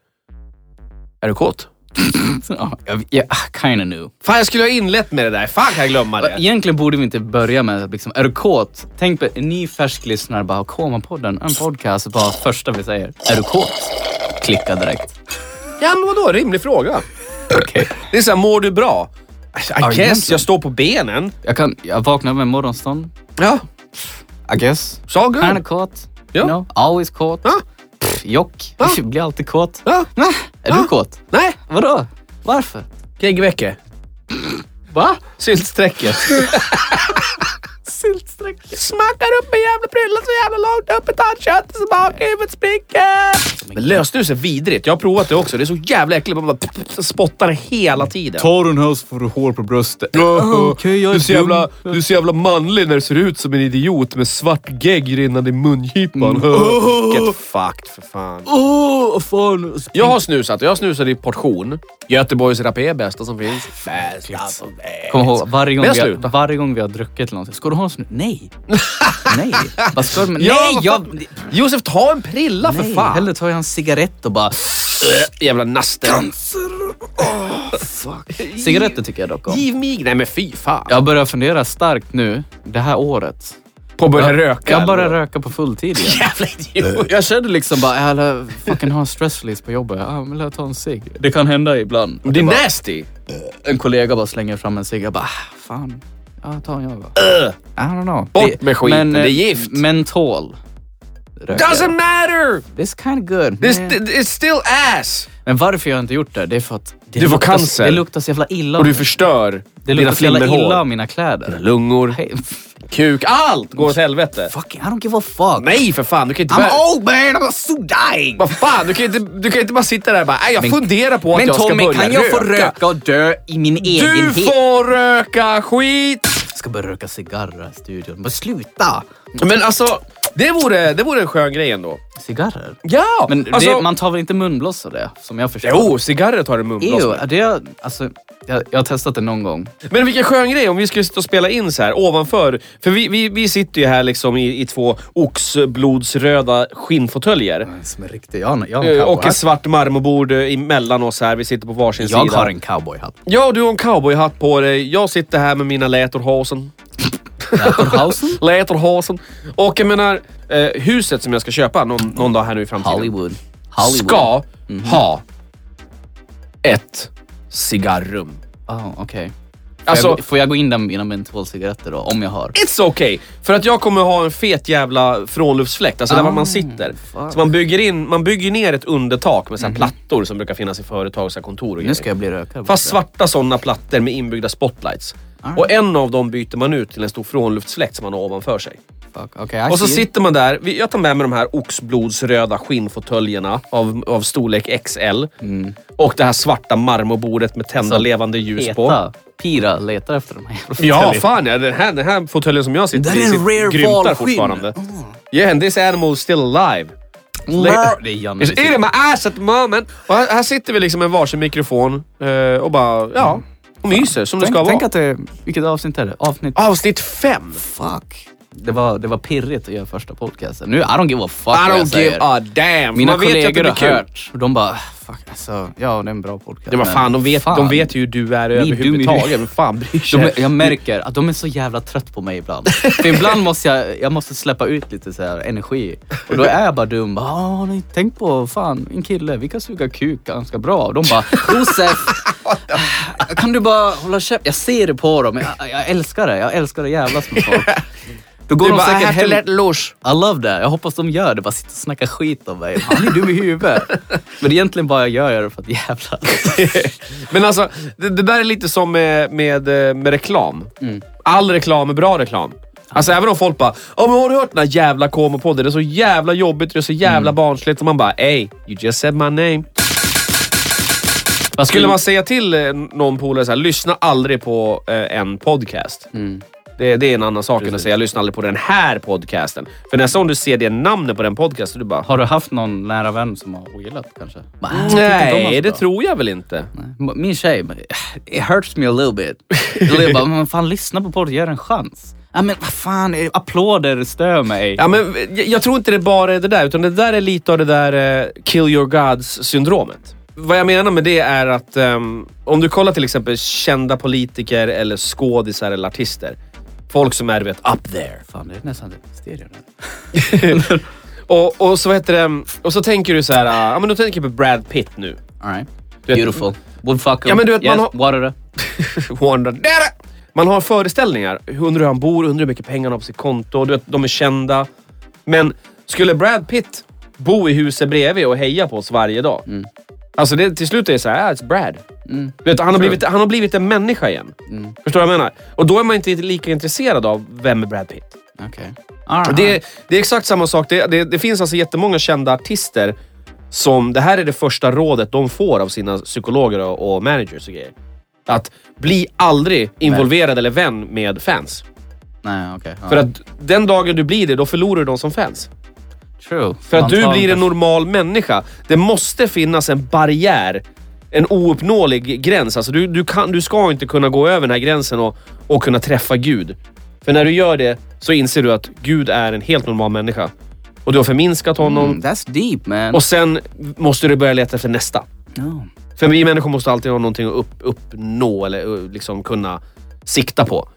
S2: Är du kåt?
S1: Ja, jag jag ah, kinda knew.
S2: Fan, jag skulle ha inlett med det där. Fan kan jag glömma det?
S1: Egentligen borde vi inte börja med, liksom, är du kåt? Tänk på en ny färsk lyssnare, bara Koma-podden, en podcast, bara första vi säger, är du kåt? Klicka direkt.
S2: Ja, men vadå? Rimlig fråga.
S1: Okej.
S2: Det är såhär, mår du bra? I guess,
S1: Egentligen.
S2: jag står på benen.
S1: Jag kan, jag vaknar med morgonstånd.
S2: Ja,
S1: I guess.
S2: så good.
S1: Kinda kåt.
S2: Ja.
S1: You know, always kåt.
S2: Ja.
S1: Pff, Jock.
S2: Ja.
S1: Jag blir alltid kåt.
S2: Ja.
S1: Nä, Är du kåt?
S2: Nej,
S1: Vadå? Varför?
S2: geggvecke.
S1: Va?
S2: Syltsträcket.
S1: Syltsträcket.
S2: Smackar upp en jävla prilla så jävla långt upp i tandköttet så bakhuvudet spricker. Men lösnus är vidrigt. Jag har provat det också. Det är så jävla äckligt. Man bara p- p- p- spottar hela tiden.
S3: Tar en höst får du hår på bröstet.
S1: Okej, jag är dum.
S2: du är så jävla manlig när du ser ut som en idiot med svart gegg rinnande i mungipan. Vilket Mm. fucked för fan.
S1: Åh, fan.
S2: Jag har snusat jag snusade i portion. Göteborgs Rapé, bästa som finns. Bästa som
S1: Kom ihåg, varje gång,
S2: Men jag
S1: vi har,
S2: slutar.
S1: varje gång vi har druckit någonting. Ska du ha en snus? Nej. Nej. Vad ska du med?
S2: Ja,
S1: Nej,
S2: vad
S1: jag...
S2: fan. Josef, ta en prilla för
S1: Nej,
S2: fan. Äh,
S1: hellre tar jag en cigarett och bara...
S2: Jävla nasten.
S1: Cigaretter tycker jag dock om.
S2: Giv mig. Nej men fy fan.
S1: Jag börjar fundera starkt nu, det här året.
S2: På att börja röka.
S1: Jag börjar
S2: eller?
S1: röka på fulltid igen.
S2: Jävla idiot.
S1: Jag kände liksom bara, jag lär fucking ha en stressrelease på jobbet. Ja, men lär ta en cigg. Det kan hända ibland.
S2: Det är nasty.
S1: En kollega bara slänger fram en cigg. Jag bara, "Ah, fan. Ja, ta en jag då. I don't know.
S2: Bort
S1: Det-
S2: med skiten, det är
S1: eh,
S2: gift.
S1: Mentol. Röker.
S2: Doesn't matter!
S1: This kind of good.
S2: This,
S1: Men-
S2: it's still ass!
S1: Men varför jag inte gjort det, det är för att det
S2: Du får
S1: luktar-
S2: cancer.
S1: Det luktar så jävla illa.
S2: Och
S1: av-
S2: du förstör
S1: det
S2: dina
S1: luktar så jävla illa av
S2: flimmerhår.
S1: mina kläder.
S2: Lungor,
S1: Hey,
S2: kuk, allt går åt helvete.
S1: fucking, I don't give a fuck.
S2: Nej för fan, du kan inte bara...
S1: I'm old man, I'm so dying.
S2: Vad fan, du kan inte, du kan inte bara sitta där och bara, "Nej, jag
S1: Men-
S2: funderar på att
S1: Men
S2: jag ska
S1: Tommy,
S2: börja
S1: kan jag få röka och dö i min
S2: Du
S1: egen hit?
S2: får röka skit!
S1: Ska börja röka cigarr i studion. Men sluta!
S2: Men alltså, Det vore, det vore en skön grej ändå.
S1: Cigarrer?
S2: Ja!
S1: Men
S2: alltså,
S1: det, man tar väl inte munblås av det, som jag förstår?
S2: Jo, cigarrer tar en munblås
S1: Ew,
S2: med.
S1: är det, alltså, jag, jag har testat det någon gång.
S2: Men vilken skön grej om vi skulle sitta och spela in så här ovanför. För vi, vi, vi sitter ju här liksom i, i två oxblodsröda skinnfåtöljer.
S1: Som är riktig, jag, har- jag har
S2: Eh,
S1: en
S2: Och ett
S1: cowboyhatt.
S2: svart marmorbord eh, emellan oss här. Vi sitter på varsin
S1: Jag
S2: sida.
S1: har en cowboyhatt.
S2: Ja, du har en cowboyhatt på dig. Jag sitter här med mina lätorhosen.
S1: Lätorhausen?
S2: Lätorhosen. Och jag menar, eh, huset som jag ska köpa någon, någon dag här nu i framtiden.
S1: Hollywood. Hollywood. Mhm.
S2: Ska ha ett cigarrum.
S1: Oh, okej. Får,
S2: Alltså,
S1: jag, gå- får jag gå in där med mina mentolcigaretter då, om jag har?
S2: It's okay! För att jag kommer ha en fet jävla frånluftsfläkt, alltså där
S1: Ah,
S2: man sitter.
S1: fuck. Mhm.
S2: Så man bygger, in, man bygger ner ett undertak med så här plattor som brukar finnas i företag, så här kontor och
S1: Nu
S2: grejer.
S1: ska jag bli rökare.
S2: Fast svarta sådana plattor med inbyggda spotlights.
S1: Alright.
S2: Och en av dem byter man ut till en stor frånluftsfläkt som man har ovanför sig.
S1: Fuck, okay, I
S2: Och så
S1: see.
S2: sitter man där. Vi- Jag tar med mig de här oxblodsröda skinnfåtöljerna av, av storlek XL. Och det här svarta marmorbordet med tända
S1: Mm. Så
S2: levande ljus på.
S1: Peta, Pira letar efter de här jävla
S2: Ja,
S1: fåtöljerna.
S2: fan ja. Den här, den här fåtöljen som jag sitter
S1: Där
S2: i
S1: är en
S2: sitter-
S1: rare
S2: grymtar
S1: valskinn.
S2: fortfarande. Yeah, and this animal is still alive.
S1: Le- Det är Janne.
S2: It's eating my ass at the moment. Och här, här sitter vi liksom med varsin mikrofon eh, och bara, ja, och myser som det ska
S1: Mm. Tänk, tänk
S2: vara. Ah.
S1: att det... Vilket avsnitt är det? Avsnitt...
S2: Avsnitt fem.
S1: Fuck. Det var, det var pirrigt att göra första podcasten. Nu, I don't give a fuck
S2: I
S1: vad jag
S2: don't give
S1: säger.
S2: a damn.
S1: Mina
S2: Man vet ju att det
S1: kollegor
S2: blir
S1: har
S2: kul.
S1: hört och de bara, fuck alltså, ja det är en bra podcast.
S2: Ja, men fan, de vet,
S1: fan.
S2: de vet ju hur du är
S1: dum i
S2: överhuvudtaget.
S1: huvudet.
S2: Men fan bryr
S1: De,
S2: sig?
S1: är- jag märker att de är så jävla trött på mig ibland. För ibland måste jag, jag måste släppa ut lite så här energi. Och då är jag bara dum. Bara, "Ah, har ni tänkt på, fan, en kille, vi kan suga kuk ganska bra. Och de bara, Josef, kan du bara hålla käften? Jag ser det på dem. Jag, jag älskar det. Jag älskar det jävlas med folk. Då går
S2: Du
S1: de
S2: bara, "I
S1: säkert
S2: have to
S1: hem.
S2: let loose."
S1: I love that. Jag hoppas de gör det. Bara sitter och snackar skit om mig. Han är dum i huvudet. Men egentligen bara jag gör jag det för att jävlas.
S2: Men alltså, det, det där är lite som med, med, eh, med reklam.
S1: Mm.
S2: All reklam är bra reklam. Alltså även om folk bara oh, men “Har du hört den här jävla komopodden? Det är så jävla jobbigt och det är så jävla
S1: Mm.
S2: barnsligt” och man bara “Ey, you just said my name”.
S1: Vad
S2: Skulle man säga till eh, någon polare så här, “Lyssna aldrig på eh, en podcast”.
S1: Mm.
S2: Det, det är en annan sak än att säga “Lyssna aldrig på den här podcasten”. För nästa gång du ser det namnet på den podcasten, du bara
S1: Har du haft någon nära vän som har ogillat kanske? Bara, "Ah, jag tycker inte om honom
S2: “Nej,
S1: så
S2: det
S1: bra."
S2: tror jag väl inte”.
S1: M- Min tjej, bara, it hurts me a little bit. Eller jag bara, men fan lyssna på podden, ge den en chans. Ja men vad fan, eh, applåder stör mig.
S2: Ja, men jag, jag tror inte det bara är det där, utan det där är lite av det där eh, kill your gods-syndromet. Vad jag menar med det är att ehm, om du kollar till exempel kända politiker eller skådisar eller artister. Folk som är, du vet, up there.
S1: Fan, det är nästan lite stereo nu.
S2: Och, och, så, vad heter det, och så tänker du så här, ah, ja men du tänker på Brad Pitt nu.
S1: All right.
S2: vet-
S1: Beautiful. Woodfucker.
S2: Ja, men du vet,
S1: yes,
S2: man har-
S1: Water.
S2: Wonder- Där är- Man har föreställningar. Hur undrar hur han bor, undrar hur mycket pengar han har på sitt konto. Du vet, de är kända. Men skulle Brad Pitt bo i huset bredvid och heja på oss varje dag? Alltså det, till slut är det så här, ah, it's Brad. Du vet, han, har blivit, han har blivit en människa igen. Förstår du vad jag menar? Och då är man inte lika intresserad av vem är Brad Pitt.
S1: Okej. All right.
S2: Det, det är exakt samma sak. Det, det, det finns alltså jättemånga kända artister som... Det här är det första rådet de får av sina psykologer och, och managers och grejer. Att bli aldrig involverad eller vän med fans.
S1: Nej, okej. ja.
S2: För att den dagen du blir det, då förlorar du dem som fans.
S1: True.
S2: För
S1: Man
S2: att du
S1: tar
S2: blir
S1: inte-
S2: en normal människa. Det måste finnas en barriär. En ouppnåelig gräns. Alltså du, du, kan, du ska inte kunna gå över den här gränsen och, och kunna träffa Gud. För när du gör det så inser du att Gud är en helt normal människa. Och du har förminskat honom.
S1: Mm, that's deep man.
S2: Och sen måste du börja leta efter nästa.
S1: No.
S2: För vi människor måste alltid ha någonting att upp, uppnå eller uh, liksom kunna sikta på.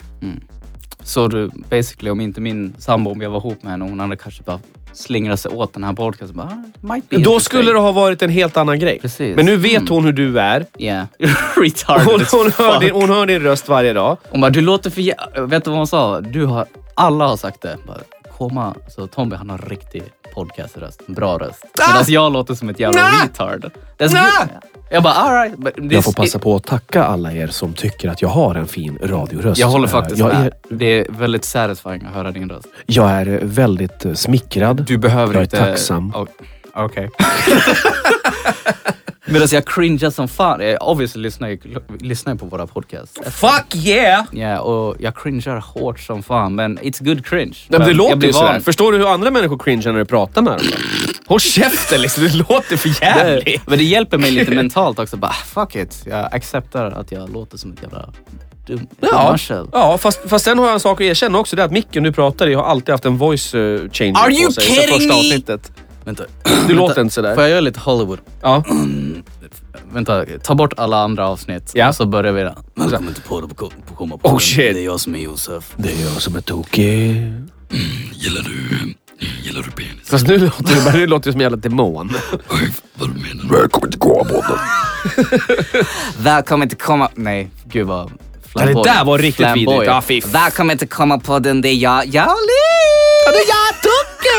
S1: Så du, basically om inte min sambo, om jag var ihop med henne, hon hade kanske bara slingrat sig åt den här podcasten. Bara, ah, might be
S2: Då
S1: interesting.
S2: skulle det ha varit en helt annan grej.
S1: Precis. Mm.
S2: Men nu vet hon hur du är.
S1: Yeah. Retarded
S2: Hon,
S1: as
S2: hon, hör
S1: fuck.
S2: din, hon hör din röst varje dag.
S1: Hon bara, du låter för jä- Vet du vad hon sa? Du har... Alla har sagt det. Bara, Koma, så Tommy han har riktig podcaströst. En Bra röst. Medan jag låter som ett jävla
S2: Nej!
S1: retard. That's
S2: Nej!
S1: good. Jag bara, alright.
S2: Jag får passa på att tacka alla er som tycker att jag har en fin radioröst.
S1: Jag håller faktiskt
S2: jag
S1: med.
S2: är,
S1: Det är väldigt satisfying att höra din röst.
S2: jag är väldigt eh, smickrad.
S1: Du behöver
S2: Jag är
S1: inte...
S2: tacksam.
S1: O- Okej. Medan jag cringear som fan. Jag obviously lyssnar ju, lyssnar ju på våra podcasts.
S2: Fuck yeah!
S1: Ja, och jag cringear hårt som fan, men it's good cringe.
S2: Nej, men det
S1: jag
S2: låter
S1: blir
S2: ju sådär.
S1: van.
S2: Förstår du hur andra människor cringear när du pratar med dem? Håll käften liksom, det låter för
S1: Det,
S2: jävligt.
S1: men det hjälper mig lite mentalt också. Bara, fuck it. Jag accepterar att jag låter som ett jävla dum
S2: Ja,
S1: dummarsel.
S2: ja fast, fast sen har jag en sak att erkänna också. Det är att micken du pratar i har alltid haft en voice eh, changer
S1: Are
S2: på
S1: you
S2: sig
S1: kidding
S2: sen första
S1: me?
S2: avsnittet.
S1: Vänta.
S2: Du låter inte sådär.
S1: Får jag göra lite Hollywood?
S2: Ja.
S1: Vänta, ta bort alla andra avsnitt.
S2: Ja.
S1: Och så börjar vi. där. Välkommen till podden på på komma på.
S2: Oh, shit.
S1: Det är jag som är Josef.
S3: Det är jag som är tokig.
S1: Gillar du, gillar du penis?
S2: Fast nu låter du, nu låter du som en jävla demon.
S1: Vad du menar?
S3: Välkommen till Kåabåten.
S5: Välkommen till komma...
S1: Nej, gud vad
S2: Ja, det där var riktigt
S1: Flamboyant.
S2: vidrigt. Ja, fy fan.
S5: Välkommen till komma på den det är jag, Jolly!
S1: Ja, det är jag, Tucke!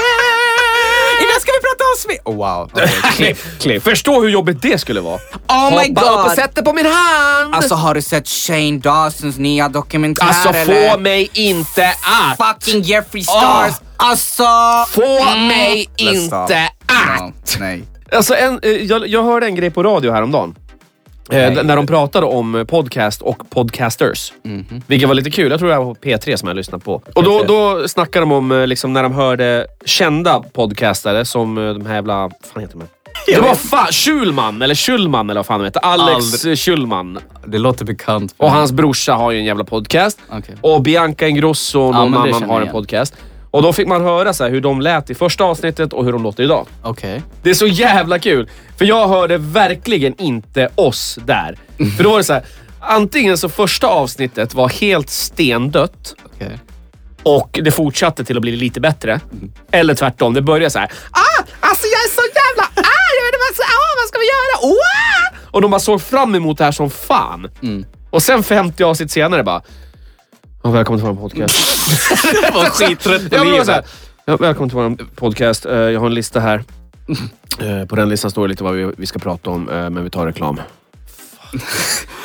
S1: Idag ska vi prata om smitt... Oh, wow. Okay, klipp, klipp.
S2: Förstå hur jobbigt det skulle vara.
S5: Oh my
S2: Hoppa upp och
S5: god!
S2: sätt dig på min hand!
S5: Alltså har du sett Shane Dawsons nya dokumentär
S2: Alltså,
S5: eller?
S2: få mig inte att!
S5: Fucking Jeffrey Stars! Alltså! mm,
S2: Få mig
S1: Let's stop.
S2: inte att!
S1: Ja, nej.
S2: Alltså en, eh, jag, jag hörde en grej på radio häromdagen. Eh, d- när de pratade om eh, podcast och podcasters. Vilket var lite kul. Jag tror det var P3 som jag lyssnade på. Och då, då snackade de om eh, liksom, när de hörde kända podcastare som eh, de här jävla... Vad fan heter de? här? Det var fan Schulman, eller Schulman eller vad fan de heter. Alex eh, Schulman.
S1: Det låter bekant.
S2: Och hans brorsa har ju en jävla podcast.
S1: Mm. Okej.
S2: Och Bianca Ingrosso, någon
S1: Ja, men det
S2: annan,
S1: känner jag
S2: har en
S1: igen.
S2: podcast. Och då fick man höra så här, hur de lät i första avsnittet och hur de låter idag.
S1: Okej.
S2: Det är så jävla kul. För jag hörde verkligen inte oss där. För då var det så här. Antingen så första avsnittet var helt stendött
S1: okej.
S2: och det fortsatte till att bli lite bättre. Eller tvärtom, det började så här. Ah, alltså jag är så jävla arg! Jag vet inte vad, jag ska- ah, vad ska vi göra? Oh! Och de bara såg fram emot det här som fan.
S1: Mm.
S2: Och sen 50 avsnitt senare bara. "Ja, välkommen till vår podcast.
S1: Jag var skittrött
S2: Ja, men det var så här. Ja, välkommen till vår podcast. Eh, jag har en lista här. Eh, på den listan står det lite vad vi, vi ska prata om, eh, men vi tar reklam.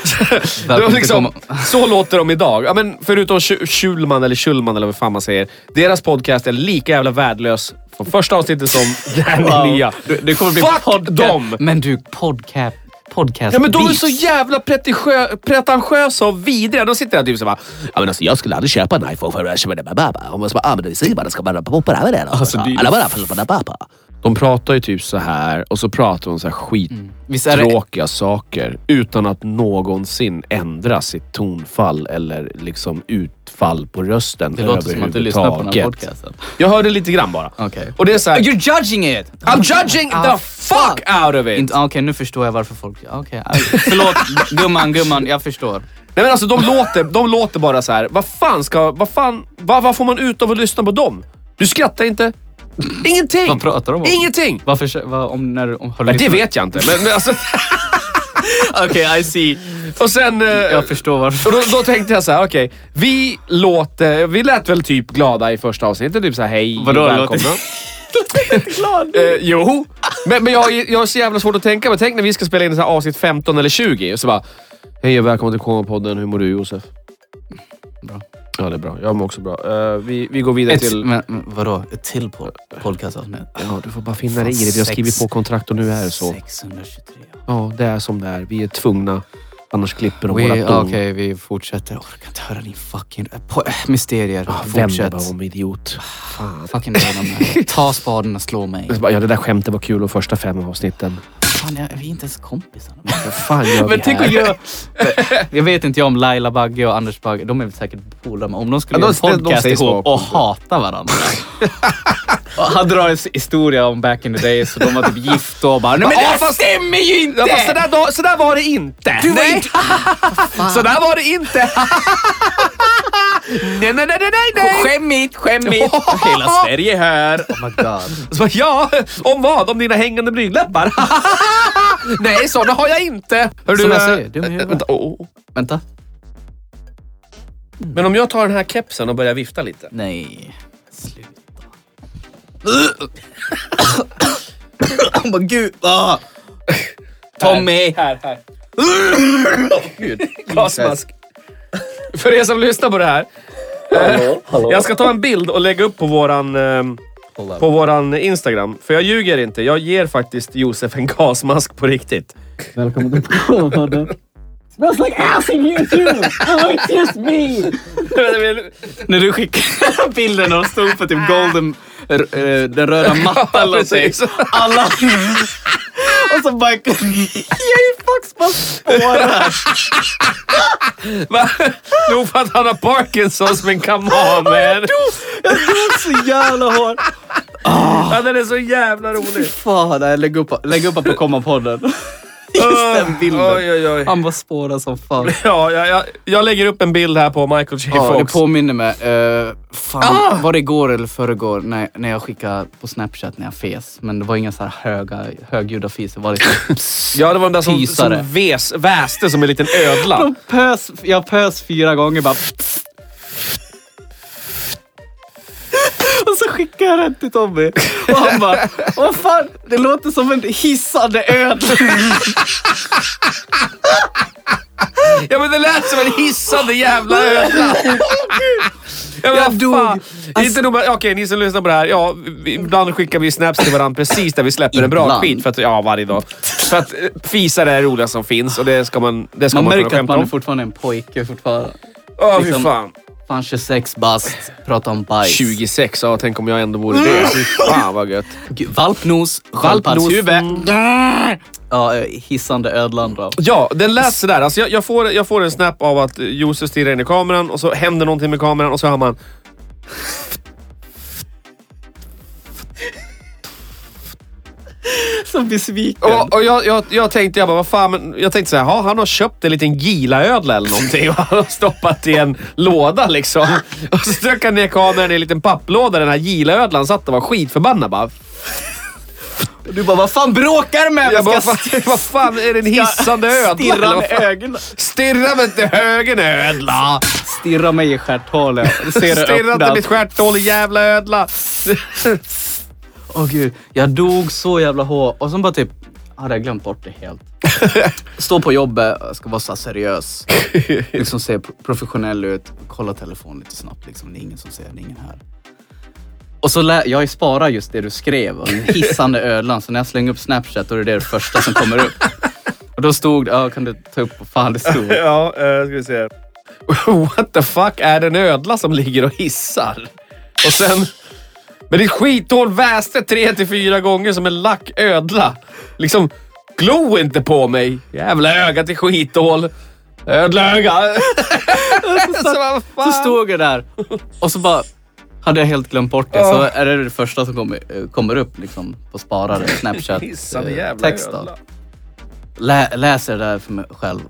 S2: Det var
S1: Välkommen till
S2: liksom,
S1: komma-
S2: så låter de idag. Ja, men förutom Schu- Schulman eller Schulman eller vad fan man säger. Deras podcast är lika jävla värdelös från första avsnittet som den nya.
S1: Du, det kommer bli
S2: Fuck
S1: podca-
S2: dem!
S1: Men du, podcast... Podcast
S2: Ja, men de är
S1: beefs.
S2: så jävla pretentiö- pretentiösa och vidriga. De sitter där typ såhär
S3: Ja, men alltså, jag skulle aldrig köpa en iPhone för att köpa den med pappa. Om man ska använda i sig, man ska bara poppa den med den. Alltså,
S1: det är ju-
S3: Alla bara för att pappa.
S2: De pratar ju typ så här och så pratar de så här skittråkiga
S1: Visst är det...
S2: saker utan att någonsin ändra sitt tonfall eller liksom utfall på rösten
S1: Det låter som att du lyssnar på den här podcasten.
S2: Jag hörde lite grann bara.
S1: Okej.
S2: Och det är så här,
S1: You're judging it!
S2: I'm judging the fuck out of it!
S1: Ah, Inte- ah, Okej, nu förstår jag varför folk... ah, Okej, aj, förlåt gumman, gumman, jag förstår.
S2: Nej men alltså de låter, de låter bara så här. vad fan ska, vad fan, vad, vad får man ut av att lyssna på dem? Du skrattar inte. Ingenting!
S1: Vad pratar de om?
S2: Ingenting!
S1: Varför... Vad, om, när, om, har du
S2: Nej, det
S1: lyssnat-
S2: vet jag inte. Men, men alltså,
S1: Okej, I see.
S2: och sen... eh,
S1: Jag förstår varför.
S2: Och då, då tänkte jag så här, okej. vi låter, vi lät väl typ glada i första avsnittet. Typ så här, hej,
S1: Vadå, låter-
S2: välkomna. Eh, jo, men, men jag, jag har så jävla svårt att tänka. Men tänk när vi ska spela in så här avsnitt 15 eller 20 och så bara, hej och välkommen till KM-podden. Hur mår du Josef?
S1: Bra.
S2: Ja, det är bra. Jag mår också bra. Eh, vi, vi går vidare
S1: Ett,
S2: till...
S1: men, men vadå? Ett till på podcastavsnitt?
S2: Ja, du får bara finna dig i det. Vi har
S1: Sex-
S2: skrivit på kontrakt och nu är det så.
S1: 623.
S2: Ja, det är som det är. Vi är tvungna. Annars klipper de
S1: We-
S2: våra
S1: Okej,
S2: dom.
S1: vi fortsätter. Jag orkar inte höra din fucking... Po- mysterier.
S2: Ah, Vänd dig
S1: Fortsätt.
S2: bara om, idiot. Fan.
S1: Fucking döda mig. Ta spaden och slå mig.
S2: Jag bara, Ja, det där skämtet var kul de första fem avsnitten.
S1: Fan, jag, vi är inte ens kompisar.
S2: Vad fan gör vi här?
S1: jag... jag vet inte jag om Laila Bagge och Anders Bagge. De är väl säkert polare. men Om de skulle
S2: Ja,
S1: göra
S2: de- de-
S1: en
S2: de
S1: podcast
S2: sägs
S1: ihop
S2: vara
S1: och hata varandra. och han drar en historia om back in the day, så de var typ gifta och bara... Nej, men
S2: Ja,
S1: det
S2: fast-
S1: stämmer ju inte!
S2: Ja, fast sådär, då, sådär var det inte. Du nej. sådär var det inte. nej, nej, nej, nej, nej, nej.
S5: Skämmigt, skämmigt!
S2: Hela Sverige här.
S1: Oh my god.
S2: Så, bara, ja, om vad? Om dina hängande blygdläppar? nej, sådana har jag inte. Hör
S1: Som jag
S2: eh,
S1: säger, dum i huvudet.
S2: vänta, åh, åh.
S1: Vänta.
S2: Men om jag tar den här kepsen och börjar vifta lite.
S1: Nej. Sluta. Åh oh, gud. Ah. Tommy.
S2: Här, här. Gasmask. För er som lyssnar på det här. eh, Jag ska ta en bild och lägga upp på våran... ehm,
S1: Hold up.
S2: på våran Instagram. För jag ljuger inte. Jag ger faktiskt Josef en gasmask på riktigt.
S6: Välkommen till podden. Smells like ass in here too! Oh, it's just me!
S1: När du skickade bilden och stod på typ golden, r- eh, den röda mattan eller någonting.
S2: precis.
S1: Alla... Och så bara... Jag är faktiskt bara spårad.
S2: Va? Nog för att han har Parkinsons, men come on man.
S1: Jag drog så jävla hårt.
S2: Ja, den är så jävla rolig.
S1: Fan, nej, lägg upp, lägg upp på kommapodden. Just den bilden.
S2: Oj, oj, oj.
S1: Han var spårad som fan.
S2: Ja, jag, jag, jag lägger upp en bild här på Michael J.
S1: Ja, det
S2: Fox. Ah!
S1: påminner mig. eh, fan, var det igår eller förrgår när, när jag skickade på Snapchat när jag fes? Men det var inga så här höga, högljudda fis. Det var liksom...
S2: Ja, det var den där som,
S1: Fisare.
S2: som väs, väste som en liten ödla.
S1: pös, jag pös fyra gånger bara. Och så skickar jag den till Tommy och han bara, vad fan, det låter som en hissande ödla.
S2: Ja, men det lät som en hissande jävla ödla. Ja, men
S1: Jag
S2: vad
S1: dog. Alltså-
S2: fan. Inte nog med, okej, ni som lyssnar på det här. Ja, vi- ibland skickar vi snaps till varandra precis där vi släpper en bra
S1: Ibland.
S2: skit. För att, ja, varje dag. För att eh, fisar är det roliga som finns och det ska man, det ska
S1: Man
S2: man, kunna
S1: märker att
S2: skämta
S1: man är
S2: om.
S1: fortfarande en pojke fortfarande.
S2: Åh, fy
S1: liksom-
S2: fan.
S1: Fan 26 bast, prata om bajs.
S2: 26, ja tänk om jag ändå vore det. Fy fan vad gött.
S1: Gud, Valpnos, sköldpaddshuvud. Ja, eh, hissande ödlan då.
S2: Ja, den lät sådär. Alltså jag, jag, får, jag får en snap av att eh, Josef stirrar in i kameran och så händer någonting med kameran och så hör man...
S1: Så besviken.
S2: Och, och jag, jag, jag tänkte, jag bara, vad fan, men jag tänkte såhär, ha, han har köpt en liten gilaödla eller någonting och han har stoppat i en låda liksom. Och så tryckte han ner kameran i en liten papplåda den här gilaödlan satt och var skitförbannad bara.
S1: Du bara, vad fan bråkar du med?
S2: Jag bara,
S1: Ska
S2: vad fan- vad fan är det en hissande ödla? eller vad
S1: Stirrande
S2: fan?
S1: ögon.
S2: Stirra mig inte högen ödla!
S1: Stirra mig i stjärthålet. Ser det
S2: Stirra inte
S1: öppnas.
S2: mitt stjärthål, jävla ödla!
S1: Åh gud, jag dog så jävla hårt. Och sen bara typ, hade jag glömt bort det helt. Står på jobbet, jag ska vara så här seriös. Liksom se pro- professionell ut. Kolla telefonen lite snabbt. Liksom. Det är ingen som ser, det är ingen här. Och så lä- jag sparar just det du skrev om den hissande ödlan. Så när jag slänger upp Snapchat då är det det första som kommer upp. Och då stod det, ja kan du ta upp vad fan det stod?
S2: Ja, uh, ska vi se. What the fuck är det en ödla som ligger och hissar? Och sen... Men ditt skithål väste tre till fyra gånger som en lack ödla. Liksom, glo inte på mig. Jävla öga till skithål. Ödla öga. så, vad fan?
S1: Så stod jag där och så bara hade jag helt glömt bort det. Så är det det första som kommer, eh, kommer upp liksom, på sparade
S2: Hissande
S1: Eh,
S2: jävla
S1: Snapchat-texten.
S2: ödla.
S1: Lä, läser det där för mig själv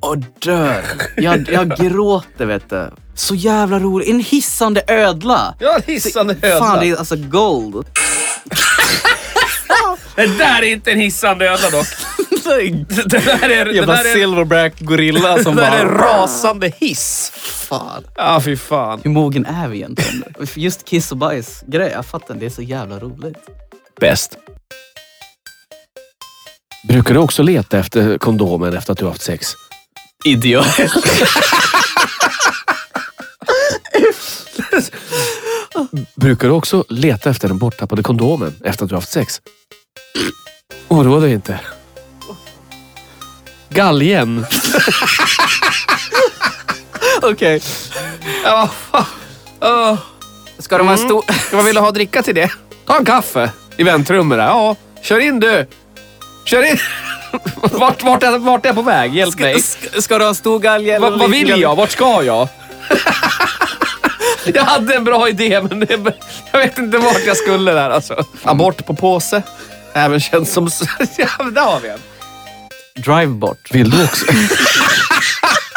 S1: och dör. Jag, jag gråter vet du. Så jävla roligt. En hissande ödla.
S2: Ja, hissande ödla.
S1: Fan, det är alltså gold.
S2: Det där är inte en hissande ödla dock. Det där är... Det
S1: Jävla
S2: där är,
S1: silverback gorilla som
S2: det där är
S1: bara...
S2: rasande hiss.
S1: Fan.
S2: Ja, ah, fy fan.
S1: Hur mogen är vi egentligen? Just kiss och bajs-grej, jag fattar Det är så jävla roligt.
S2: Bäst.
S3: Brukar du också leta efter kondomen efter att du haft sex?
S1: Idiot.
S3: Brukar du också leta efter den borttappade kondomen efter att du haft sex? Oroa dig inte. Galgen.
S1: Okej.
S2: Ja, vad fan. Åh.
S1: Ska de ha en stor...
S3: Mm.
S2: Vad vill du ha att dricka till det? Ta en kaffe i väntrummet där. Ja, kör in du. Kör in. Vart, vart, är, vart är jag på väg? Hjälp mig.
S1: Ska, ska du ha en stor galge eller
S2: Va, vad
S1: liten
S2: vill
S1: galge?
S2: jag? Vart ska jag? Jag hade en bra idé, men det, jag vet inte vart jag skulle där alltså. Abort på påse. Även känns som... Ja, men där har vi en.
S1: Drive bort.
S3: Vill du också?